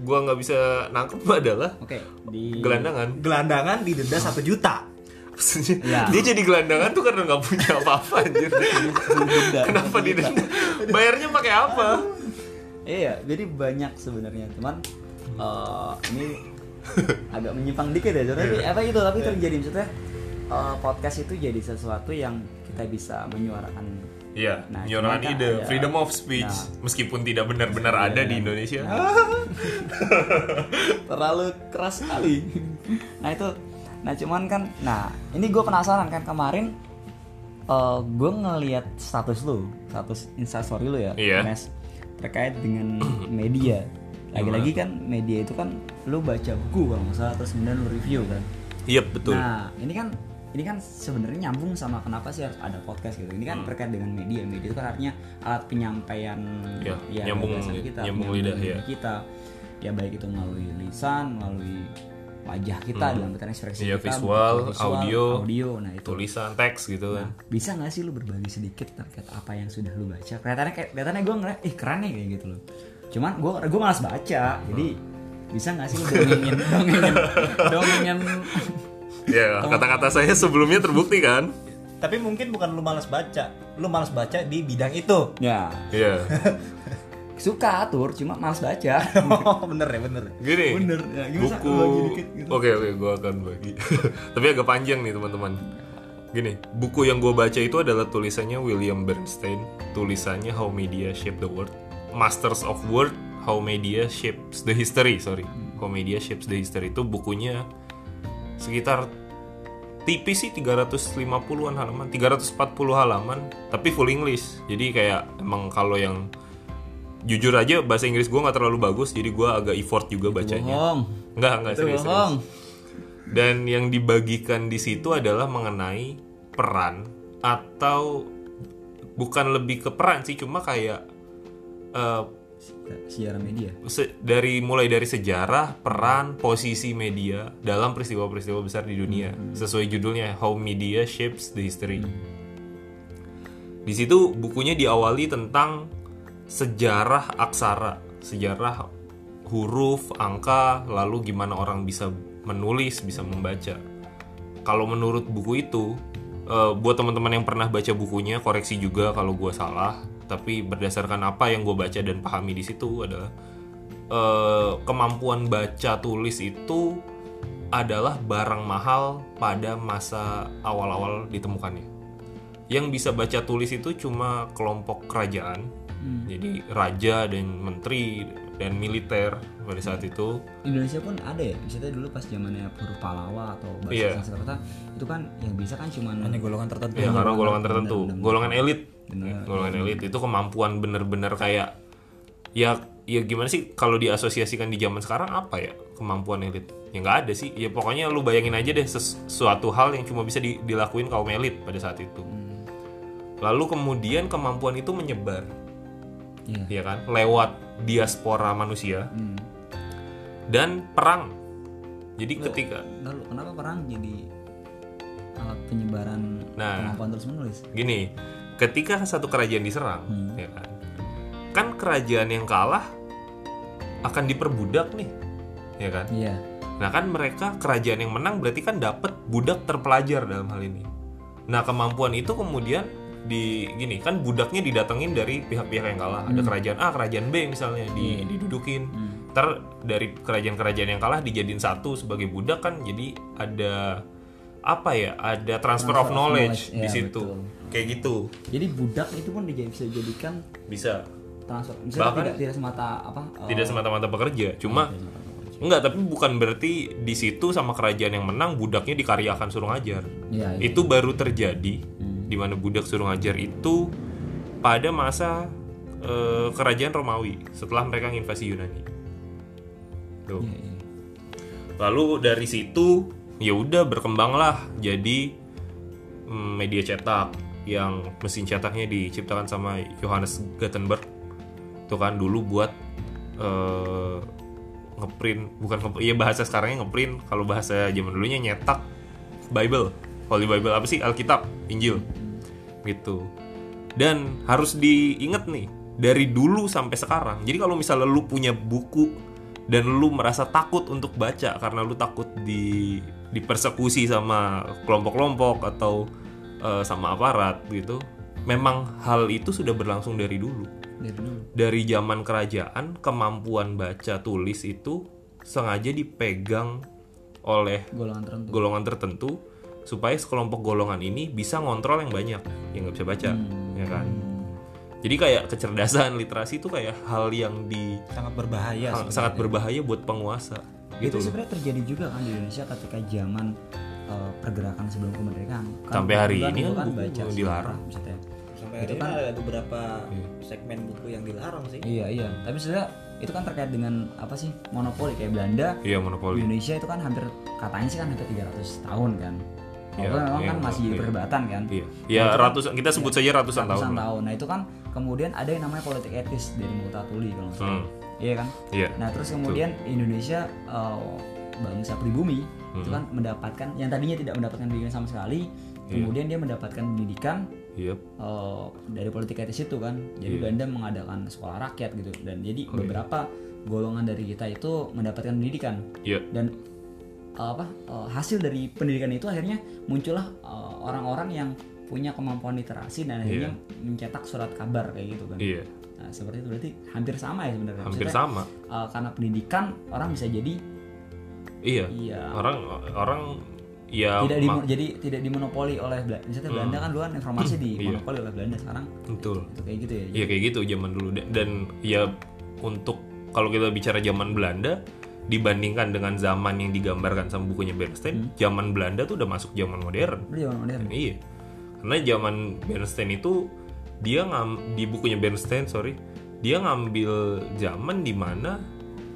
Speaker 3: gua nggak bisa nangkep *laughs* adalah
Speaker 1: Oke, di
Speaker 3: gelandangan
Speaker 2: gelandangan didenda satu juta
Speaker 3: Maksudnya,
Speaker 1: Ya.
Speaker 3: dia jadi gelandangan tuh karena nggak punya apa-apa anjir.
Speaker 1: *laughs*
Speaker 3: Kenapa didenda? Bayarnya pakai apa?
Speaker 1: Iya, jadi banyak sebenarnya, cuman eh, ini agak menyimpang dikit ya, Jor. tapi apa itu tapi terjadi maksudnya eh, podcast itu jadi sesuatu yang kita bisa menyuarakan.
Speaker 3: Iya,
Speaker 1: Nah, cuman
Speaker 3: menyuarakan
Speaker 1: kan
Speaker 3: ide,
Speaker 1: ada-
Speaker 3: freedom of speech,
Speaker 1: Nah. Iya,
Speaker 3: meskipun tidak benar-benar ada di Indonesia.
Speaker 1: Terlalu keras sekali. nah itu, nah cuman kan, nah ini gue penasaran kan kemarin gue ngelihat status lu, status instastory lu ya,
Speaker 3: Iya.
Speaker 1: Mas, terkait dengan media. Lagi-lagi kan media itu kan lu baca buku kalau nggak salah terus kemudian lu review kan.
Speaker 3: Iya betul.
Speaker 1: Nah, ini kan ini kan sebenarnya nyambung sama kenapa sih harus ada podcast gitu. Ini kan
Speaker 3: Hmm.
Speaker 1: terkait dengan media. Media itu kan artinya alat penyampaian
Speaker 3: Ya, nyambung-
Speaker 1: gagasan
Speaker 3: nyambung
Speaker 1: penyampaian
Speaker 3: lidah, ya.
Speaker 1: kita. Ya baik itu melalui lisan, melalui wajah kita dalam bentuk ekspresi
Speaker 3: Iya,
Speaker 1: kita,
Speaker 3: visual,
Speaker 1: bentuk
Speaker 3: audio,
Speaker 1: audio. Nah, itu
Speaker 3: Tulisan teks gitu kan.
Speaker 1: bisa nggak sih lu berbagi sedikit terkait apa yang sudah lu baca kelihatannya kayak kelihatannya gue ngeliat ih keren nih kayak gitu loh cuman gue gue malas baca jadi
Speaker 3: Hmm.
Speaker 1: bisa nggak sih lu dongengin *laughs* dongengin
Speaker 3: *laughs*
Speaker 1: dongengin
Speaker 3: Ya, kata-kata
Speaker 1: *laughs*
Speaker 3: saya sebelumnya terbukti kan?
Speaker 2: tapi mungkin bukan lu malas baca lu malas baca di bidang itu *laughs*
Speaker 1: ya
Speaker 3: Iya.
Speaker 1: suka atur cuma malas baca
Speaker 2: bener ya bener
Speaker 3: Gini.
Speaker 1: Bener, ya, gimana,
Speaker 3: buku.
Speaker 1: Sa? Bagi dikit gitu.
Speaker 3: Oke oke, gua akan bagi. *laughs* Tapi agak panjang nih teman-teman. Gini, buku yang gua baca itu adalah tulisannya William Bernstein, tulisannya How Media Shape the World, Masters of Word, How Media Shapes the History, sorry,
Speaker 1: Hmm.
Speaker 3: How Media Shapes the History itu bukunya sekitar tipis sih 350-an halaman, 340 halaman, tapi full English. Jadi kayak emang kalau yang jujur aja bahasa Inggris gua nggak terlalu bagus, jadi gua agak effort juga bacanya.
Speaker 1: bohong
Speaker 3: Enggak, enggak
Speaker 1: itu
Speaker 3: serius.
Speaker 1: bohong
Speaker 3: serius. Dan yang dibagikan di situ adalah mengenai peran atau bukan lebih ke peran sih, cuma kayak eh,
Speaker 1: siaran media
Speaker 3: se- dari mulai dari sejarah, peran, posisi media dalam peristiwa-peristiwa besar di dunia. Sesuai judulnya How Media Shapes the History. Di situ bukunya diawali tentang sejarah aksara, sejarah huruf, angka, lalu gimana orang bisa menulis, bisa membaca. Kalau menurut buku itu, eh, buat teman-teman yang pernah baca bukunya, koreksi juga kalau gue salah. Tapi berdasarkan apa yang gue baca dan pahami di situ adalah eh, kemampuan baca tulis itu adalah barang mahal pada masa awal-awal ditemukannya yang bisa baca tulis itu cuma kelompok kerajaan jadi raja dan menteri dan militer pada saat itu
Speaker 1: Indonesia pun ada ya misalnya dulu pas zamannya Huru Pahlawa atau bahasa
Speaker 3: Iya.
Speaker 1: Sanskerta itu kan yang bisa kan cuman
Speaker 4: hanya golongan tertentu
Speaker 3: ya karena golongan tertentu golongan elit
Speaker 1: Benar.
Speaker 3: golongan elit itu kemampuan bener-bener kayak ya ya gimana sih kalau diasosiasikan di zaman sekarang apa ya kemampuan elit ya nggak ada sih ya pokoknya lu bayangin aja deh sesuatu hal yang cuma bisa di- dilakuin kaum elit pada saat itu
Speaker 1: Hmm.
Speaker 3: lalu kemudian kemampuan itu menyebar
Speaker 1: Iya.
Speaker 3: ya kan lewat diaspora manusia
Speaker 1: Hmm.
Speaker 3: dan perang jadi ketika
Speaker 1: lalu kenapa perang jadi alat penyebaran
Speaker 3: Nah.
Speaker 1: kemampuan terus menulis
Speaker 3: gini ketika satu kerajaan diserang ya kan kan kerajaan yang kalah akan diperbudak nih ya kan
Speaker 1: iya
Speaker 3: nah kan mereka kerajaan yang menang berarti kan dapat budak terpelajar dalam hal ini nah kemampuan itu kemudian di gini kan budaknya didatengin dari pihak-pihak yang kalah ada kerajaan A kerajaan B misalnya di, didudukin ter dari kerajaan-kerajaan yang kalah dijadiin satu sebagai budak kan jadi ada apa ya ada transfer, of knowledge,
Speaker 1: knowledge,
Speaker 3: di
Speaker 1: ya,
Speaker 3: situ
Speaker 1: betul.
Speaker 3: kayak gitu
Speaker 1: jadi budak itu pun dija- bisa dijadikan
Speaker 3: bisa
Speaker 1: transfer misalnya
Speaker 3: Bahkan-
Speaker 1: tidak tidak semata apa eh,
Speaker 3: tidak semata-mata pekerja cuma enggak tapi bukan berarti di situ sama kerajaan yang menang budaknya dikaryakan suruh ngajar
Speaker 1: Iya, iya. Hmm.
Speaker 3: itu baru terjadi di mana budak suruh ngajar itu pada masa eh, kerajaan Romawi setelah mereka invasi Yunani Tuh.
Speaker 1: iya.
Speaker 3: lalu dari situ ya udah berkembanglah jadi mm, media cetak yang mesin cetaknya diciptakan sama Johannes Gutenberg itu kan dulu buat eh, ngeprint bukan ngeprint ya bahasa sekarangnya ngeprint kalau bahasa zaman dulunya nyetak Bible Holy Bible apa sih Alkitab Injil gitu dan harus diingat nih dari dulu sampai sekarang jadi kalau misalnya lu punya buku dan lu merasa takut untuk baca karena lu takut di dipersekusi sama kelompok-kelompok atau eh, sama aparat gitu memang hal itu sudah berlangsung dari dulu
Speaker 1: dari dulu
Speaker 3: dari zaman kerajaan kemampuan baca tulis itu sengaja dipegang oleh
Speaker 1: golongan tertentu
Speaker 3: golongan tertentu supaya sekelompok golongan ini bisa ngontrol yang banyak yang nggak bisa baca
Speaker 1: Hmm.
Speaker 3: ya kan jadi kayak kecerdasan literasi itu kayak hal yang di
Speaker 4: sangat berbahaya
Speaker 3: hal- sangat berbahaya buat penguasa gitu
Speaker 1: Ya, itu
Speaker 3: loh.
Speaker 1: sebenarnya terjadi juga kan di Indonesia ketika zaman eh, pergerakan sebelum kemerdekaan Kan
Speaker 3: Sampai hari
Speaker 1: kebetulan
Speaker 3: ini
Speaker 1: dulu
Speaker 3: kan buku dilarang.
Speaker 1: maksudnya.
Speaker 2: sampai hari
Speaker 3: kan-
Speaker 2: ini ada beberapa
Speaker 3: Iya.
Speaker 2: segmen buku yang dilarang sih
Speaker 1: iya iya tapi sebenarnya itu kan terkait dengan apa sih monopoli kayak Belanda
Speaker 3: iya monopoli
Speaker 1: Indonesia itu kan hampir katanya sih kan hampir 300 tahun kan walaupun
Speaker 3: Iya,
Speaker 1: memang
Speaker 3: iya,
Speaker 1: kan masih jadi
Speaker 3: iya.
Speaker 1: perdebatan kan
Speaker 3: iya ya ratusan kita sebut saja ratusan,
Speaker 1: Iya. ratusan
Speaker 3: tahun
Speaker 1: tahun nah itu kan kemudian ada yang namanya politik etis dari Multatuli kalau nggak salah
Speaker 3: Hmm.
Speaker 1: iya kan
Speaker 3: iya
Speaker 1: Nah terus kemudian Indonesia eh, bangsa pribumi itu
Speaker 3: Hmm.
Speaker 1: kan mendapatkan yang tadinya tidak mendapatkan pendidikan sama sekali, kemudian dia mendapatkan pendidikan
Speaker 3: iya
Speaker 1: eh, dari politik etis itu kan. Jadi Belanda mengadakan sekolah rakyat gitu dan jadi
Speaker 3: Oh, iya.
Speaker 1: beberapa golongan dari kita itu mendapatkan pendidikan
Speaker 3: iya
Speaker 1: dan eh, apa eh, hasil dari pendidikan itu akhirnya muncullah eh, orang-orang yang punya kemampuan literasi dan akhirnya mencetak surat kabar kayak gitu kan.
Speaker 3: iya
Speaker 1: Nah, seperti itu berarti hampir sama ya sebenarnya.
Speaker 3: hampir
Speaker 1: Maksudnya,
Speaker 3: sama
Speaker 1: Uh, karena pendidikan orang bisa jadi
Speaker 3: iya
Speaker 1: iya
Speaker 3: orang orang ya
Speaker 1: tidak
Speaker 3: mak-
Speaker 1: di, jadi tidak dimonopoli oleh Belanda.
Speaker 3: Hmm.
Speaker 1: Misalnya Belanda kan dulu kan informasi
Speaker 3: iya.
Speaker 1: dimonopoli oleh Belanda sekarang
Speaker 3: betul
Speaker 1: itu kayak gitu ya.
Speaker 3: ya kayak gitu zaman dulu dan, dan ya untuk kalau kita bicara zaman Belanda dibandingkan dengan zaman yang digambarkan sama bukunya Bernstein zaman Belanda tuh udah masuk zaman modern
Speaker 1: Jadi zaman modern.
Speaker 3: iya karena zaman Bernstein itu dia ngam di bukunya Bernstein sorry dia ngambil zaman di mana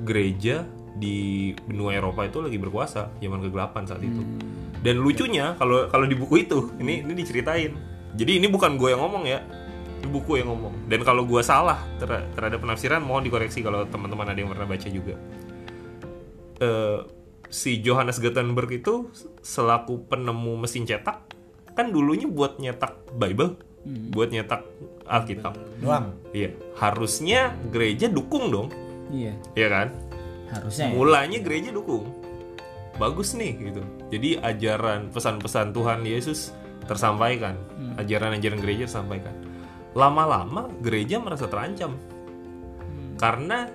Speaker 3: gereja di benua Eropa itu lagi berkuasa zaman kegelapan saat itu dan lucunya kalau kalau di buku itu ini ini diceritain jadi ini bukan gue yang ngomong ya di buku yang ngomong dan kalau gue salah ter- terhadap penafsiran mohon dikoreksi kalau teman-teman ada yang pernah baca juga eh, si Johannes Gutenberg itu selaku penemu mesin cetak kan dulunya buat nyetak Bible, buat nyetak Alkitab.
Speaker 4: doang
Speaker 3: Iya, harusnya gereja dukung dong,
Speaker 1: Iya.
Speaker 3: ya kan?
Speaker 1: Harusnya ya.
Speaker 3: Mulanya gereja dukung. Bagus nih gitu. Jadi ajaran pesan-pesan Tuhan Yesus tersampaikan, ajaran-ajaran gereja tersampaikan. Lama-lama gereja merasa terancam. Karena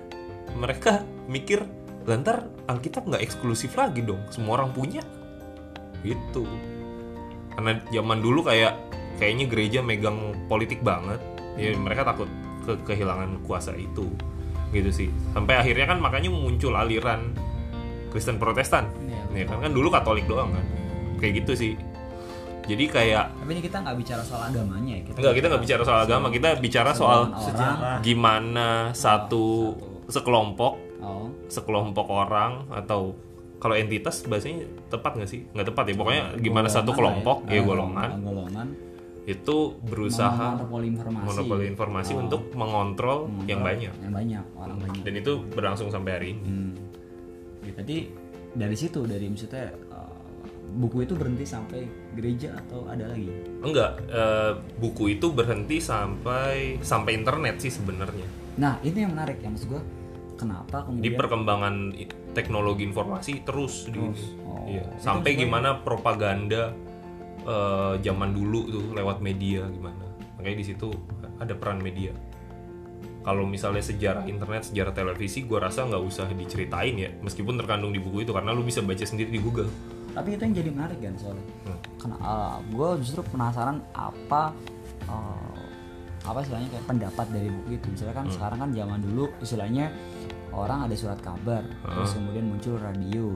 Speaker 3: mereka mikir lantar Alkitab nggak eksklusif lagi dong, semua orang punya. Gitu. Karena zaman dulu kayak kayaknya gereja megang politik banget. Ya mereka takut ke kehilangan kuasa itu gitu sih sampai akhirnya kan makanya muncul aliran Kristen Protestan
Speaker 1: Iya.
Speaker 3: ya kan kan dulu Katolik doang kan kayak gitu sih jadi kayak
Speaker 1: Tapi ini kita nggak bicara soal agamanya ya.
Speaker 3: enggak kita nggak bicara soal agama kita bicara soal
Speaker 1: Orang.
Speaker 2: Sejarah.
Speaker 3: gimana satu sekelompok
Speaker 1: Oh,
Speaker 3: sekelompok orang atau kalau entitas bahasanya tepat nggak sih nggak tepat ya pokoknya gimana satu
Speaker 1: golongan
Speaker 3: kelompok
Speaker 1: lah
Speaker 3: ya golongan
Speaker 1: Ah, golongan
Speaker 3: itu berusaha
Speaker 1: monopoli informasi.
Speaker 3: monopoli iya. informasi
Speaker 1: Oh,
Speaker 3: untuk mengontrol
Speaker 1: mengontrol
Speaker 3: yang banyak
Speaker 1: Yang banyak, orang banyak.
Speaker 3: dan itu berlangsung sampai hari ini
Speaker 1: Hmm. Berarti dari situ dari maksudnya eh, buku itu berhenti sampai gereja atau ada lagi?
Speaker 3: enggak eh, buku itu berhenti sampai sampai internet sih sebenarnya
Speaker 1: Nah, ini yang menarik ya maksud gua. Kenapa
Speaker 3: di
Speaker 1: kemudian
Speaker 3: perkembangan i- teknologi informasi terus, di-
Speaker 1: Oh.
Speaker 3: iya. sampai gimana propaganda eh, zaman dulu tuh lewat media gimana makanya di situ ada peran media kalau misalnya sejarah internet sejarah televisi gua rasa nggak usah diceritain ya meskipun terkandung di buku itu karena lu bisa baca sendiri di Google
Speaker 1: tapi itu yang jadi menarik kan soalnya
Speaker 3: Hmm.
Speaker 1: karena gue justru penasaran apa eh, apa istilahnya kayak pendapat dari buku itu misalnya kan
Speaker 3: Hmm.
Speaker 1: sekarang kan zaman dulu istilahnya orang ada surat kabar terus
Speaker 3: Hmm.
Speaker 1: kemudian muncul radio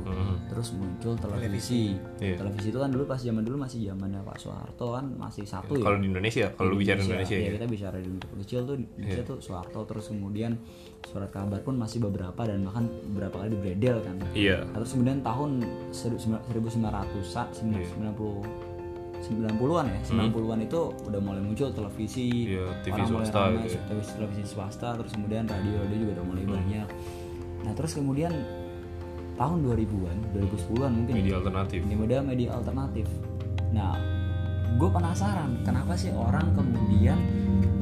Speaker 1: terus muncul televisi
Speaker 3: Iya.
Speaker 1: televisi itu kan dulu pas zaman dulu masih zamannya Pak Soeharto kan masih satu ya
Speaker 3: kalau Iya. di Indonesia kalau lu bicara Indonesia
Speaker 1: ya,
Speaker 3: ya Iya.
Speaker 1: kita bicara di Indonesia kecil tuh di Indonesia tuh Soeharto terus kemudian surat kabar pun masih beberapa dan bahkan beberapa kali dibredel kan
Speaker 3: iya
Speaker 1: atau kemudian tahun 1900-an
Speaker 3: Iya.
Speaker 1: 90-an ya 90-an itu udah mulai muncul televisi
Speaker 3: Hmm. Iya, TV
Speaker 1: orang mulai
Speaker 3: swasta
Speaker 1: ramai,
Speaker 3: gitu ya. Hmm.
Speaker 1: televisi televisi swasta terus kemudian radio radio juga udah mulai banyak nah terus kemudian tahun 2000-an 2010-an mungkin ya,
Speaker 3: media alternatif
Speaker 1: ini media media alternatif nah gue penasaran kenapa sih orang kemudian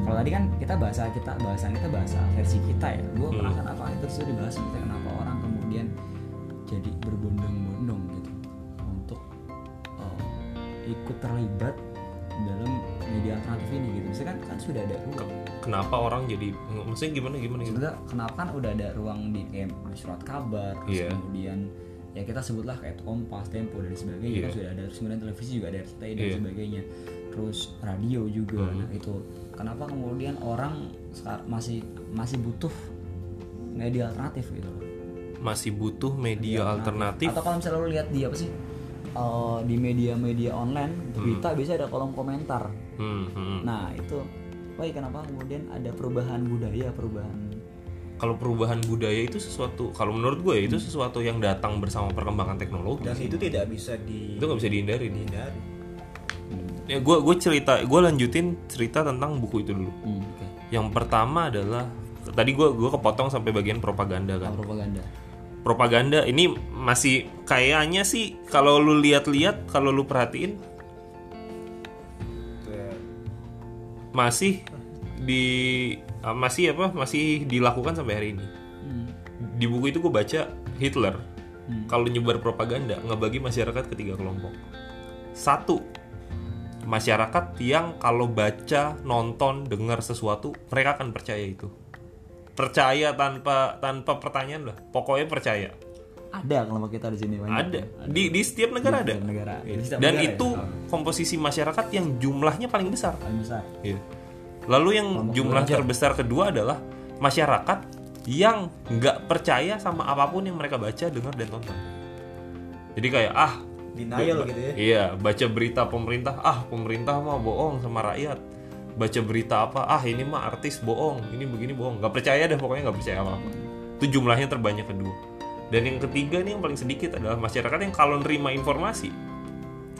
Speaker 1: kalau tadi kan kita bahasa kita bahasan kita bahasa versi kita ya gue penasaran apa itu sudah dibahas maksudnya kenapa orang kemudian jadi berbondong-bondong gitu untuk eh, ikut terlibat dalam media alternatif ini gitu maksudnya kan kan sudah ada ruang
Speaker 3: kenapa orang jadi maksudnya gimana gimana gitu
Speaker 1: sebenarnya kenapa kan udah ada ruang di kayak surat kabar terus
Speaker 3: Iya.
Speaker 1: kemudian ya kita sebutlah kayak kompas tempo dan sebagainya
Speaker 3: Iya.
Speaker 1: kan sudah ada terus kemudian televisi juga ada RCTI dan
Speaker 3: Iya. Hmm.
Speaker 1: sebagainya terus radio juga nah itu kenapa kemudian orang sekar- masih masih butuh media alternatif gitu loh
Speaker 3: masih butuh media alternatif
Speaker 1: atau kalau misalnya lo lihat di apa sih eh, di media-media online berita biasanya ada kolom komentar
Speaker 3: Hmm, hmm.
Speaker 1: nah itu Woi kenapa kemudian ada perubahan budaya perubahan
Speaker 3: kalau perubahan budaya itu sesuatu kalau menurut gue ya, itu sesuatu yang datang bersama perkembangan teknologi
Speaker 2: dan itu tidak bisa di
Speaker 3: itu nggak bisa dihindari nih
Speaker 2: dihindari
Speaker 3: ya gue gue cerita gue lanjutin cerita tentang buku itu dulu
Speaker 1: hmm, oke
Speaker 3: yang pertama adalah tadi gue gue kepotong sampai bagian propaganda kan
Speaker 1: propaganda
Speaker 3: propaganda ini masih kayaknya sih kalau lu lihat-lihat kalau lu perhatiin
Speaker 2: Itu ya.
Speaker 3: masih di ah, masih apa masih dilakukan sampai hari ini
Speaker 1: Hmm.
Speaker 3: di buku itu gue baca Hitler kalau nyebar propaganda ngebagi masyarakat ke tiga kelompok satu masyarakat yang kalau baca nonton dengar sesuatu mereka akan percaya itu percaya tanpa tanpa pertanyaan lah pokoknya percaya
Speaker 1: ada kelompok kita di sini banyak
Speaker 3: ada di di setiap negara ada
Speaker 1: Setiap negara Di setiap
Speaker 3: dan
Speaker 1: negara ya?
Speaker 3: itu komposisi masyarakat yang jumlahnya paling besar
Speaker 1: paling besar
Speaker 3: Iya. Lalu yang jumlah terbesar kedua adalah masyarakat yang nggak percaya sama apapun yang mereka baca, dengar dan tonton. Jadi kayak ah,
Speaker 2: denial gitu ya
Speaker 3: iya baca berita pemerintah, ah pemerintah mah bohong sama rakyat. Baca berita apa, ah ini mah artis bohong, ini begini bohong, nggak percaya deh pokoknya nggak percaya apa apa. Itu jumlahnya terbanyak kedua. Dan yang ketiga nih yang paling sedikit adalah masyarakat yang kalau nerima informasi,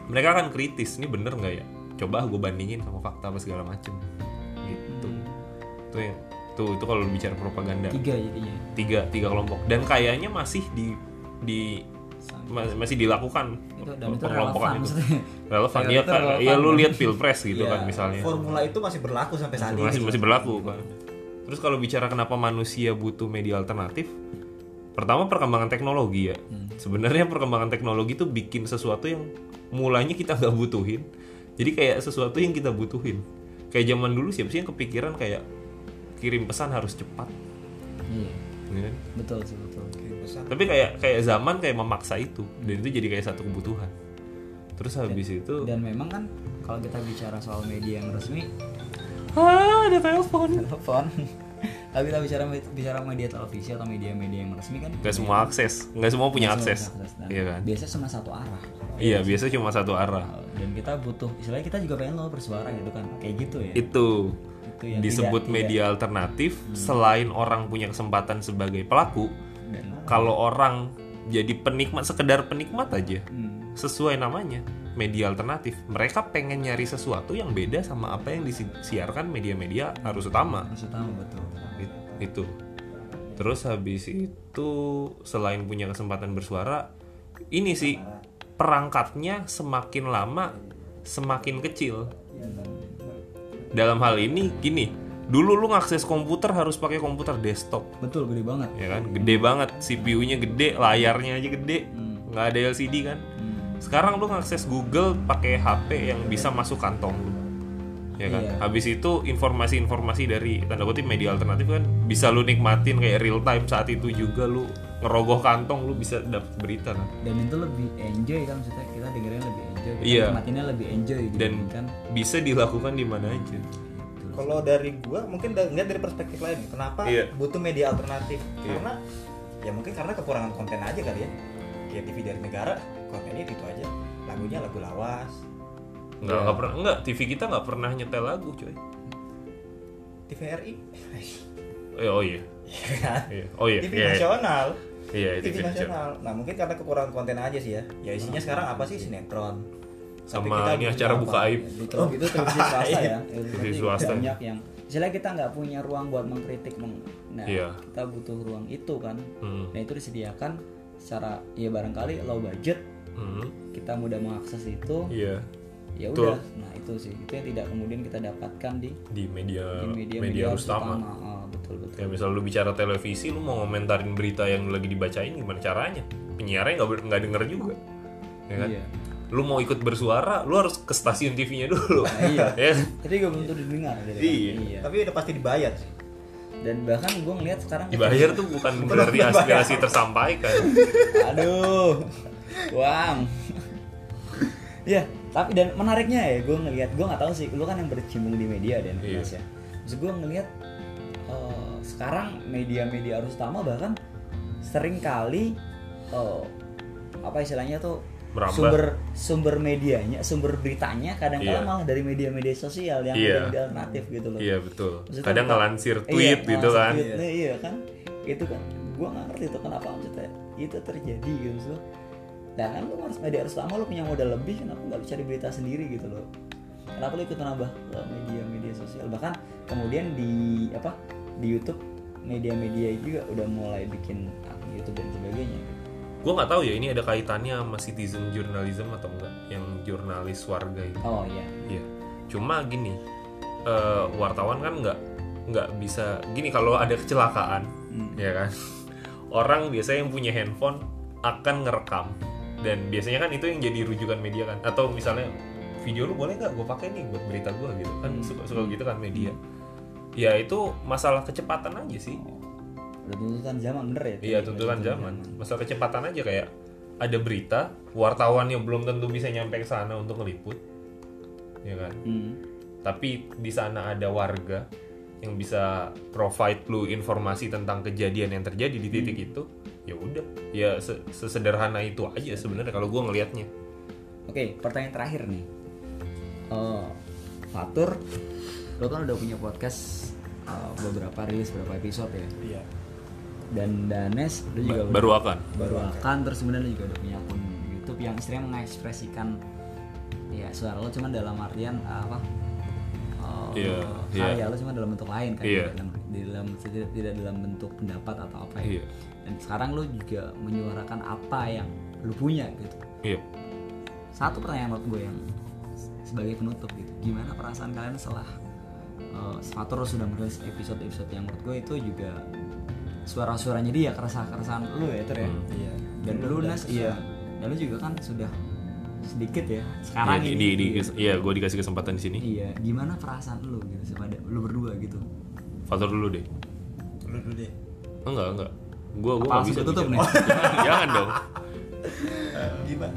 Speaker 3: mereka akan kritis, ini bener nggak ya? Coba gue bandingin sama fakta apa segala macem gitu. Itu yang tuh itu kalau bicara propaganda
Speaker 1: tiga jadinya
Speaker 3: tiga tiga kelompok dan kayaknya masih di di ma- masih dilakukan
Speaker 1: itu dan itu
Speaker 3: pengelompokan
Speaker 1: relevan
Speaker 3: itu
Speaker 1: maksudnya *laughs*
Speaker 3: relevan
Speaker 1: Iya,
Speaker 3: ya
Speaker 1: itu
Speaker 3: kan
Speaker 1: relevan.
Speaker 3: ya lu lihat pilpres gitu
Speaker 1: Iya.
Speaker 3: kan misalnya
Speaker 2: formula itu masih berlaku sampai saat ini
Speaker 3: masih masih berlaku kan terus kalau bicara kenapa manusia butuh media alternatif pertama perkembangan teknologi ya
Speaker 1: Hmm.
Speaker 3: sebenarnya perkembangan teknologi itu bikin sesuatu yang mulanya kita nggak butuhin jadi kayak sesuatu yang kita butuhin kayak zaman dulu siapa sih yang kepikiran kayak kirim pesan harus cepat
Speaker 1: iya
Speaker 3: ya kan?
Speaker 1: betul sih betul
Speaker 2: Kirim pesan.
Speaker 3: tapi kayak kayak zaman kayak memaksa itu dan itu jadi kayak satu kebutuhan terus habis itu
Speaker 1: dan memang kan kalau kita bicara soal media yang resmi
Speaker 3: ah ada telepon
Speaker 1: telepon *laughs* tapi kita bicara bicara media televisi atau media-media yang resmi kan
Speaker 3: nggak semua akses nggak semua
Speaker 1: Semua
Speaker 3: punya
Speaker 1: nah.
Speaker 3: akses
Speaker 1: bisa Dan
Speaker 3: iya kan
Speaker 1: biasanya cuma satu arah
Speaker 3: iya biasa cuma satu arah
Speaker 1: dan kita butuh istilahnya kita juga pengen lo bersuara gitu kan kayak gitu ya
Speaker 3: itu
Speaker 1: Itu yang
Speaker 3: disebut
Speaker 1: tidak- Hmm.
Speaker 3: media alternatif selain orang punya kesempatan sebagai pelaku
Speaker 1: dan
Speaker 3: kalau orang jadi penikmat sekedar penikmat aja
Speaker 1: Hmm.
Speaker 3: sesuai namanya media alternatif mereka pengen nyari sesuatu yang beda sama apa yang disiarkan media-media arus utama
Speaker 1: harus tahu betul
Speaker 3: It- itu terus habis itu selain punya kesempatan bersuara ini sih perangkatnya semakin lama semakin kecil dalam hal ini gini dulu lu ngakses komputer harus pakai komputer desktop
Speaker 1: betul gede banget
Speaker 3: ya kan gede banget CPU-nya gede layarnya aja gede nggak ada LCD kan
Speaker 1: Hmm.
Speaker 3: sekarang lu ngakses Google pakai HP yang bisa masuk kantong lu ya kan
Speaker 1: Iya.
Speaker 3: habis itu informasi-informasi dari tanda kutip media alternatif kan bisa lu nikmatin kayak real time saat itu juga lu ngerogoh kantong lu bisa dapat berita kan
Speaker 1: dan itu lebih enjoy kan maksudnya kita dengerin lebih enjoy kita
Speaker 3: Iya.
Speaker 1: nikmatinnya lebih enjoy gitu kan.
Speaker 3: dan Iya.
Speaker 1: dibandingkan
Speaker 3: bisa dilakukan di mana aja
Speaker 2: Kalau dari gua mungkin da- ngeliat dari perspektif lain, kenapa
Speaker 3: Iya.
Speaker 2: butuh media alternatif?
Speaker 3: Iya.
Speaker 2: Karena ya mungkin karena kekurangan konten aja kali ya. Kayak TV dari negara, kontennya itu aja. Lagunya lagu lawas.
Speaker 3: nggak
Speaker 1: Iya.
Speaker 3: nggak pernah nggak TV kita nggak pernah nyetel lagu coy
Speaker 2: TVRI.
Speaker 3: Eh, oh iya
Speaker 2: Iya kan?
Speaker 3: Iya. oh iya
Speaker 2: TV
Speaker 3: Iya, iya.
Speaker 2: nasional.
Speaker 3: Iya,
Speaker 2: TV,
Speaker 3: TV nasional. Hmm.
Speaker 2: nasional. Nah, mungkin karena kekurangan konten aja sih ya. Ya isinya sekarang apa sih sinetron? Tapi
Speaker 3: Sama ini
Speaker 2: butuh
Speaker 3: acara
Speaker 2: apa?
Speaker 3: buka aib.
Speaker 1: Ya, gitu, itu televisi
Speaker 3: *laughs*
Speaker 1: swasta ya
Speaker 3: Televisi
Speaker 1: Itu
Speaker 3: Oh. Iya. swasta.
Speaker 1: banyak yang misalnya kita nggak punya ruang buat mengkritik meng- nah
Speaker 3: Iya.
Speaker 1: kita butuh ruang itu kan
Speaker 3: Hmm.
Speaker 1: nah itu disediakan secara ya barangkali low budget
Speaker 3: Hmm.
Speaker 1: kita mudah mengakses itu
Speaker 3: iya
Speaker 1: ya
Speaker 3: Betul.
Speaker 1: udah nah itu sih itu yang tidak kemudian kita dapatkan di
Speaker 3: di media
Speaker 1: di
Speaker 3: Eh, media,
Speaker 1: media
Speaker 3: arus utama.
Speaker 1: Oh,
Speaker 3: Iya,
Speaker 1: betul betul
Speaker 3: Kayak misal lu bicara televisi, lu mau ngomentarin berita yang lagi dibacain gimana caranya? Penyiarnya nggak ber- nggak denger juga, ya kan?
Speaker 1: Iya.
Speaker 3: Lu mau ikut bersuara, lu harus ke stasiun TV-nya dulu.
Speaker 1: iya.
Speaker 3: *laughs* Ya kan?
Speaker 1: tapi gue belum tentu didengar gitu kan.
Speaker 3: Iya.
Speaker 2: Tapi udah pasti dibayar sih.
Speaker 1: dan bahkan gue ngeliat sekarang
Speaker 3: Dibayar tuh bukan berarti aspirasi tersampaikan.
Speaker 1: *laughs* aduh uang ya tapi dan menariknya ya gue ngelihat gue nggak tahu sih lu kan yang bercimbung di media dan
Speaker 3: Iya.
Speaker 1: Mas ya terus gue ngelihat eh, sekarang media-media arus utama bahkan sering kali eh, apa istilahnya tuh
Speaker 3: Merambah.
Speaker 1: sumber sumber medianya sumber beritanya kadang kadang
Speaker 3: Iya.
Speaker 1: malah dari media-media sosial yang
Speaker 3: Iya.
Speaker 1: media alternatif gitu loh
Speaker 3: Iya betul.
Speaker 1: Maksudnya
Speaker 3: Kadang
Speaker 1: bukan-
Speaker 3: ngelansir tweet
Speaker 1: Iya,
Speaker 3: gitu
Speaker 1: ngelansir
Speaker 3: kan.
Speaker 1: tweet. Nah, iya kan itu kan gue nggak ngerti itu kenapa maksudnya itu terjadi gitu maksudnya dan kan lu harus media harus lama lu punya modal lebih kenapa nggak lu cari berita sendiri gitu loh kenapa lu ikut nambah ke media-media sosial bahkan kemudian di apa di YouTube media-media juga udah mulai bikin akun YouTube dan sebagainya
Speaker 3: Gue nggak tahu ya ini ada kaitannya sama citizen journalism atau enggak yang jurnalis warga itu.
Speaker 1: oh iya
Speaker 3: Iya. Cuma gini, eh, wartawan kan nggak nggak bisa gini kalau ada kecelakaan, ya kan. Orang biasanya yang punya handphone akan ngerekam dan biasanya kan itu yang jadi rujukan media kan. Atau misalnya video lu boleh nggak gue pakai nih buat berita gue gitu kan suka suka gitu kan media. Ya itu masalah kecepatan aja sih.
Speaker 1: udah tuntutan zaman bener ya
Speaker 3: Iya tuntutan zaman. Masalah kecepatan aja kayak ada berita wartawan yang belum tentu bisa nyampe ke sana untuk ngeliput, ya kan
Speaker 1: Hmm.
Speaker 3: tapi di sana ada warga yang bisa provide lu informasi tentang kejadian yang terjadi di titik itu ya udah ya se- sesederhana itu aja sebenarnya kalau gue ngelihatnya
Speaker 1: Oke, pertanyaan terakhir nih. Eh, Fatur, lo kan udah punya podcast eh, beberapa rilis, beberapa episode ya.
Speaker 2: Iya.
Speaker 1: Dan Danes, lo juga udah-
Speaker 3: baru akan
Speaker 1: baru akan terus kemudian lo juga udah punya akun YouTube yang istilahnya mengekspresikan ya suara lo cuman dalam artian eh, apa? eh,
Speaker 3: Iya,
Speaker 1: karya
Speaker 3: iya.
Speaker 1: lo cuma dalam bentuk lain kan
Speaker 3: Iya.
Speaker 1: dalam, di dalam tidak, tidak dalam bentuk pendapat atau apa ya
Speaker 3: Iya.
Speaker 1: dan sekarang lo juga menyuarakan apa yang lo punya gitu
Speaker 3: iya
Speaker 1: satu pertanyaan menurut gue yang sebagai penutup gitu gimana perasaan kalian setelah uh, Svator sudah merilis episode-episode yang menurut gue itu juga suara-suaranya dia keresahan-keresahan lu ya ter
Speaker 3: Hmm.
Speaker 1: ya
Speaker 2: Iya.
Speaker 1: dan lu Nas iya dan lu juga kan sudah sedikit ya sekarang
Speaker 3: Iya,
Speaker 1: ini
Speaker 3: di- di- iya gue dikasih kesempatan di sini
Speaker 1: iya gimana perasaan lu gitu sama ada- lu berdua gitu
Speaker 3: faktor dulu deh
Speaker 2: Lu dulu deh.
Speaker 3: enggak enggak gue gue
Speaker 1: Apa
Speaker 3: nggak
Speaker 1: langsung
Speaker 3: bisa
Speaker 1: ditutup
Speaker 3: bicara. jangan, jangan dong
Speaker 2: Gimana?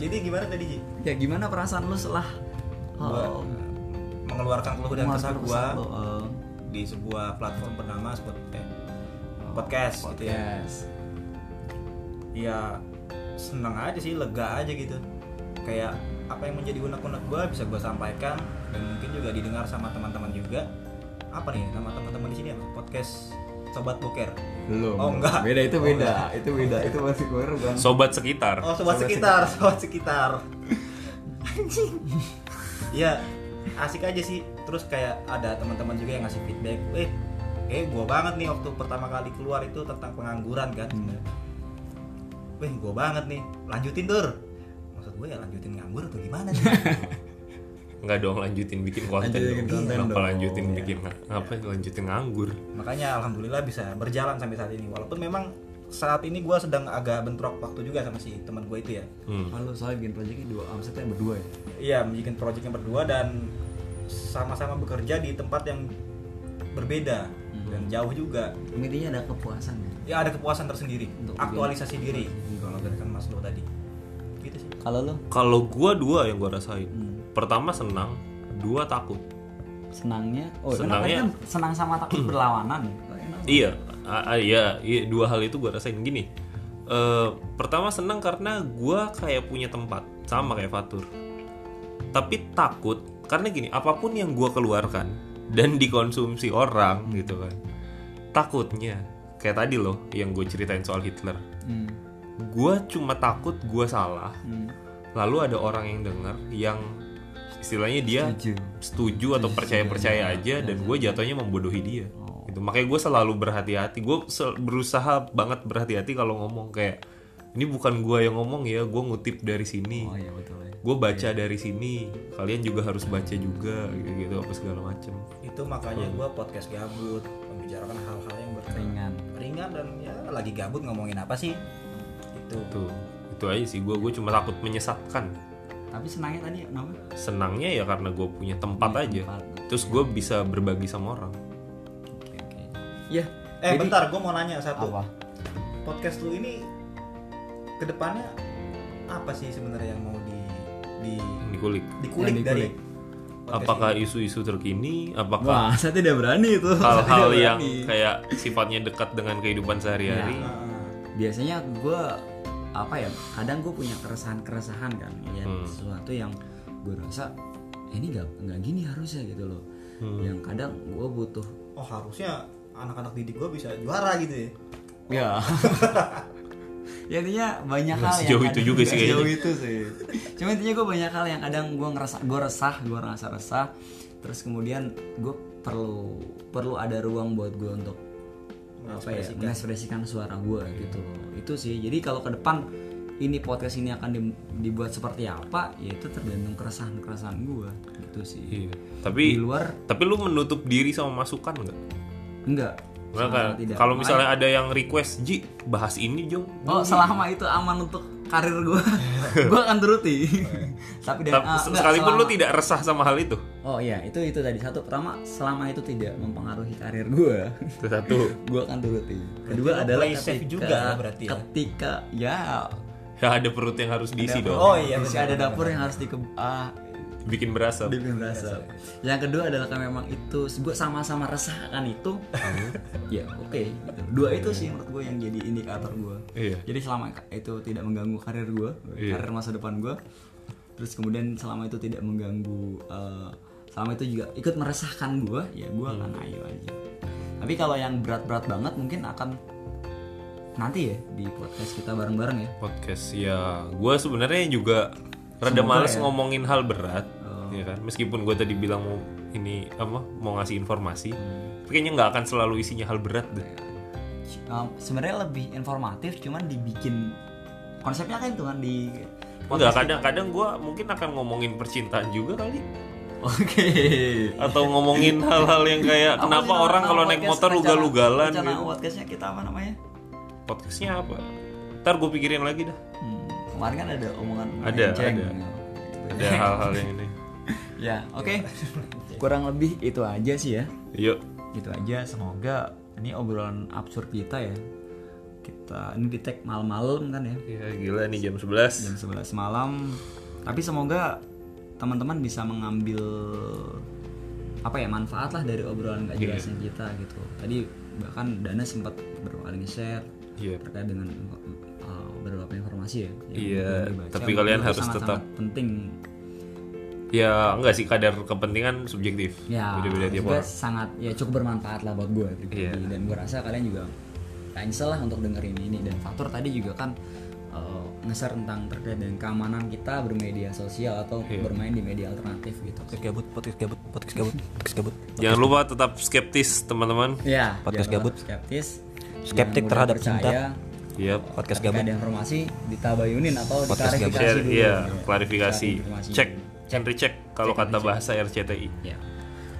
Speaker 2: Jadi gimana tadi Ji?
Speaker 1: ya gimana perasaan lu setelah uh,
Speaker 2: mengeluarkan keluh dan
Speaker 1: Mengeluarkan
Speaker 2: kesah gua
Speaker 1: kesah lo, eh.
Speaker 2: di sebuah platform bernama Spotify podcast, gitu ya.
Speaker 1: podcast
Speaker 2: ya seneng aja sih lega aja gitu kayak apa yang menjadi unek-unek gua bisa gua sampaikan dan mungkin juga didengar sama teman-teman juga apa nih sama teman-teman di sini apa? podcast sobat boker
Speaker 4: Belum.
Speaker 2: Oh, enggak.
Speaker 4: Beda itu
Speaker 2: Oh,
Speaker 4: beda.
Speaker 2: enggak.
Speaker 4: itu beda. Itu masih goreng bukan.
Speaker 3: Sobat sekitar.
Speaker 2: Oh sobat
Speaker 4: Sobat
Speaker 2: sekitar, sobat sekitar. Anjing. Iya, asik aja sih. Terus kayak ada teman-teman juga yang ngasih feedback. Eh, eh gua banget nih waktu pertama kali keluar itu tentang pengangguran kan. Weh, gua banget nih. Lanjutin, Dur. Maksud gue ya lanjutin nganggur atau gimana *laughs* sih?
Speaker 3: Nggak dong lanjutin bikin konten.
Speaker 4: Lanjutin
Speaker 3: dong.
Speaker 4: konten
Speaker 3: Kenapa
Speaker 4: dong.
Speaker 3: lanjutin
Speaker 4: Iya.
Speaker 3: bikin apa lanjutin nganggur?
Speaker 2: Makanya alhamdulillah bisa berjalan sampai saat ini. Walaupun memang saat ini gua sedang agak bentrok waktu juga sama si teman gue itu ya.
Speaker 3: Hmm.
Speaker 4: Halo, soalnya bikin proyeknya dua omsetnya berdua ya.
Speaker 2: Iya, bikin project yang berdua dan sama-sama bekerja di tempat yang berbeda
Speaker 4: Hmm.
Speaker 2: dan jauh juga.
Speaker 4: Intinya ada kepuasan ya.
Speaker 2: Ya ada kepuasan tersendiri,
Speaker 4: Untuk
Speaker 2: aktualisasi diri kalau dari kan Mas Lo tadi. Gitu sih.
Speaker 1: kalau lo
Speaker 3: Kalau gua dua yang gua rasain. Pertama senang, dua takut.
Speaker 1: senangnya oh
Speaker 3: Senangnya- Hmm.
Speaker 1: kenapa kan senang sama takut berlawanan
Speaker 3: Iya, a- a- iya, iya, dua hal itu gue rasain gini. Eh, pertama senang karena gue kayak punya tempat sama kayak Fatur. Tapi takut karena gini, apapun yang gue keluarkan dan dikonsumsi orang gitu kan, takutnya kayak tadi loh yang gue ceritain soal Hitler.
Speaker 1: Hmm.
Speaker 3: Gue cuma takut gue salah. Lalu ada orang yang denger yang istilahnya dia
Speaker 4: Setuju. Iya. Oh.
Speaker 3: setuju atau percaya percaya aja dan gue jatuhnya membodohi dia gitu makanya gue selalu berhati-hati gue berusaha banget berhati-hati kalau ngomong kayak ini bukan gue yang ngomong ya gue ngutip dari sini
Speaker 4: Oh iya betul ya.
Speaker 3: gue baca dari sini kalian juga harus baca juga gitu, -gitu apa segala macem
Speaker 2: Itu makanya
Speaker 4: Iya.
Speaker 2: gua podcast gabut, membicarakan hal-hal yang berkaitan
Speaker 1: ringan
Speaker 2: ringan dan ya lagi gabut ngomongin apa sih? Gitu. Itu.
Speaker 3: tuh itu aja sih gue gue cuma takut menyesatkan
Speaker 1: tapi senangnya tadi kenapa
Speaker 3: senangnya ya karena gue punya tempat
Speaker 4: Iya,
Speaker 3: aja
Speaker 1: tempat.
Speaker 3: terus gue bisa berbagi sama orang
Speaker 1: oke oke ya
Speaker 2: Eh bentar, gua mau nanya satu.
Speaker 1: apa
Speaker 2: Podcast lu ini kedepannya apa sih sebenarnya yang mau di di
Speaker 3: dikulik
Speaker 2: dikulik,
Speaker 4: Yang
Speaker 2: dari
Speaker 4: dikulik.
Speaker 2: podcast
Speaker 3: apakah
Speaker 2: ini?
Speaker 3: isu-isu terkini apakah
Speaker 4: Wah, saya tidak berani itu. Saya tidak
Speaker 3: hal-hal yang
Speaker 4: berani.
Speaker 3: kayak sifatnya dekat dengan kehidupan sehari-hari.
Speaker 2: Ah.
Speaker 1: Iya. biasanya gue apa ya kadang gue punya keresahan keresahan kan ya
Speaker 3: Hmm.
Speaker 1: sesuatu yang gue rasa ini nggak nggak gini harusnya gitu loh
Speaker 3: Hmm.
Speaker 1: yang kadang gue butuh
Speaker 2: oh harusnya anak-anak didik gue bisa juara gitu ya
Speaker 4: Ya.
Speaker 1: *laughs* ya intinya banyak hal
Speaker 3: Nah, sejauh
Speaker 1: yang
Speaker 3: itu
Speaker 1: kadang-
Speaker 3: juga sih kayaknya.
Speaker 4: Jauh itu sih.
Speaker 1: cuma intinya gue banyak hal yang kadang gue ngerasa gue resah gue ngerasa resah terus kemudian gue perlu perlu ada ruang buat gue untuk apa ya mengekspresikan suara gue
Speaker 3: Iya.
Speaker 1: gitu loh itu sih jadi kalau ke depan ini podcast ini akan di- dibuat seperti apa ya itu tergantung keresahan keresahan gue gitu sih
Speaker 3: Iya.
Speaker 1: di
Speaker 3: Tapi
Speaker 1: luar
Speaker 3: tapi lu menutup diri sama masukan nggak?
Speaker 1: enggak
Speaker 3: Nggak
Speaker 1: Sama
Speaker 3: kan?
Speaker 1: tidak.
Speaker 3: Kalau misalnya ada yang request, Ji, bahas ini Jong.
Speaker 1: oh selama itu aman untuk karir
Speaker 3: *laughs*
Speaker 1: gue gue akan turuti tapi dan
Speaker 3: Tapi
Speaker 1: ah,
Speaker 3: se-
Speaker 1: enggak,
Speaker 3: sekalipun lu
Speaker 1: selama-
Speaker 3: tidak resah sama hal itu.
Speaker 1: Oh iya, itu itu tadi satu pertama selama itu tidak mempengaruhi karir gue, *laughs*
Speaker 3: Itu satu.
Speaker 1: gue akan turuti.
Speaker 2: lo
Speaker 1: Kedua adalah
Speaker 2: play safe
Speaker 1: ketika
Speaker 2: juga berarti ya?
Speaker 1: ketika ya
Speaker 3: Ya ada perut yang harus diisi dong.
Speaker 2: Oh, iya,
Speaker 1: masih
Speaker 2: benar,
Speaker 1: ada
Speaker 2: benar,
Speaker 1: dapur yang harus dike ah,
Speaker 3: Bikin berasap.
Speaker 1: dibikin berasap. Yang kedua adalah kan memang itu gue sama-sama resah akan itu, ya oke. gitu. Dua itu sih menurut gue yang jadi indikator gue.
Speaker 3: Iya.
Speaker 1: Jadi selama itu tidak mengganggu karir gue,
Speaker 3: Iya.
Speaker 1: karir masa depan gue. Terus kemudian selama itu tidak mengganggu, eh, selama itu juga ikut meresahkan gue, ya gue akan
Speaker 3: Hmm.
Speaker 1: ayo aja. Tapi kalau yang berat-berat banget mungkin akan nanti ya di podcast kita bareng-bareng ya.
Speaker 3: Podcast ya, gue sebenarnya juga rada males
Speaker 1: ya.
Speaker 3: ngomongin hal berat,
Speaker 1: Oh.
Speaker 3: ya kan. Meskipun gue tadi bilang mau ini apa mau ngasih informasi,
Speaker 1: Hmm.
Speaker 3: tapi kayaknya nggak akan selalu isinya hal berat deh.
Speaker 1: Iya, Um, sebenarnya lebih informatif, cuman dibikin konsepnya kan itu kan di
Speaker 3: Enggak, kadang-kadang gue mungkin akan ngomongin percintaan juga kali
Speaker 1: Oke.
Speaker 3: Atau
Speaker 1: *laughs*
Speaker 3: ngomongin hal-hal yang
Speaker 1: Apa sih
Speaker 3: kayak Ya, kenapa
Speaker 1: nama-
Speaker 3: orang
Speaker 1: nama
Speaker 3: kalau naik
Speaker 1: podcast
Speaker 3: motor
Speaker 1: rencana-
Speaker 3: ugal-ugalan
Speaker 1: Rencana
Speaker 3: gitu.
Speaker 1: podcastnya kita apa namanya?
Speaker 3: Podcastnya apa? Ntar gue pikirin lagi dah
Speaker 1: Hmm, kemarin kan ada omongan
Speaker 3: Ada,
Speaker 1: ceng.
Speaker 3: ada. Ada
Speaker 1: *laughs*
Speaker 3: hal-hal yang ini
Speaker 1: Ya, oke.
Speaker 3: Ya.
Speaker 1: Kurang lebih itu aja sih ya.
Speaker 3: Yuk
Speaker 1: Itu aja. Semoga ini obrolan absurd kita ya. Kita ini di tag malam-malam kan ya.
Speaker 3: Ya gila nih jam 11
Speaker 1: jam 11 malam tapi semoga teman-teman bisa mengambil apa ya manfaat lah dari obrolan nggak
Speaker 3: Iya.
Speaker 1: jelasnya kita gitu tadi bahkan Dana sempat berapa kali share
Speaker 3: Iya.
Speaker 1: terkait dengan uh, beberapa informasi ya yang
Speaker 3: Iya,
Speaker 1: belum dibaca.
Speaker 3: tapi kalian
Speaker 1: Menurut
Speaker 3: harus
Speaker 1: sangat-sangat
Speaker 3: tetap-
Speaker 1: penting
Speaker 3: ya enggak sih kadar kepentingan subjektif
Speaker 1: ya
Speaker 3: beda-beda tiap
Speaker 1: juga
Speaker 3: orang
Speaker 1: sangat ya cukup bermanfaat lah buat gue pribadi
Speaker 3: Iya.
Speaker 1: dan gue rasa kalian juga gak nyesel lah untuk dengerin ini dan faktor tadi juga kan eh, nge-share tentang terkait dengan keamanan kita bermedia sosial atau
Speaker 3: Iya.
Speaker 1: bermain di media alternatif gitu
Speaker 2: Podcast gabut, podcast gabut, podcast gabut, podcast gabut.
Speaker 3: jangan lupa tetap skeptis teman-teman
Speaker 1: ya
Speaker 2: Podcast
Speaker 1: jangan
Speaker 2: gabut.
Speaker 1: skeptis
Speaker 2: Skeptik
Speaker 1: Jangan
Speaker 2: terhadap
Speaker 1: mudah
Speaker 3: Yap.
Speaker 2: Podcast
Speaker 1: ketika
Speaker 2: gabut.
Speaker 1: ada informasi ditabayunin atau
Speaker 2: Podcast gabut.
Speaker 1: diklarifikasi
Speaker 3: share
Speaker 1: dulu
Speaker 3: ya
Speaker 1: Iya.
Speaker 3: klarifikasi
Speaker 1: Informasi.
Speaker 3: cek and recheck kalau kata bahasa RCTI
Speaker 1: ya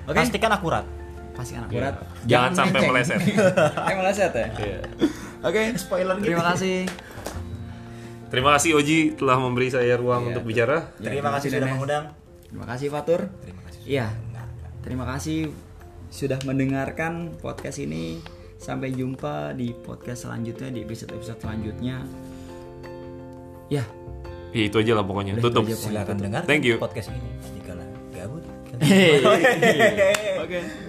Speaker 1: oke
Speaker 2: Pastikan akurat.
Speaker 1: pastikan akurat
Speaker 3: Iya. jangan sampai
Speaker 1: melenceng. *laughs*
Speaker 3: meleset
Speaker 1: Eh, meleset ya
Speaker 3: Iya.
Speaker 1: oke
Speaker 2: Spoiler gitu.
Speaker 1: terima kasih
Speaker 3: terima kasih Oji telah memberi saya ruang untuk bicara
Speaker 1: Ya,
Speaker 2: Terima kasih
Speaker 1: Dan
Speaker 2: sudah
Speaker 1: ya.
Speaker 2: mengundang.
Speaker 1: Terima kasih Fatur.
Speaker 2: Terima kasih.
Speaker 1: Iya. Terima kasih sudah mendengarkan podcast ini. Sampai jumpa di podcast selanjutnya di episode-episode selanjutnya. Ya,
Speaker 3: ya itu aja lah pokoknya
Speaker 1: Udah, itu
Speaker 3: tutup
Speaker 1: aja pokoknya.
Speaker 2: Silakan dengar
Speaker 3: Thank you.
Speaker 2: *laughs*
Speaker 1: Iya.
Speaker 2: podcast ini. Jikalau gabut.
Speaker 1: Hehehe. oke.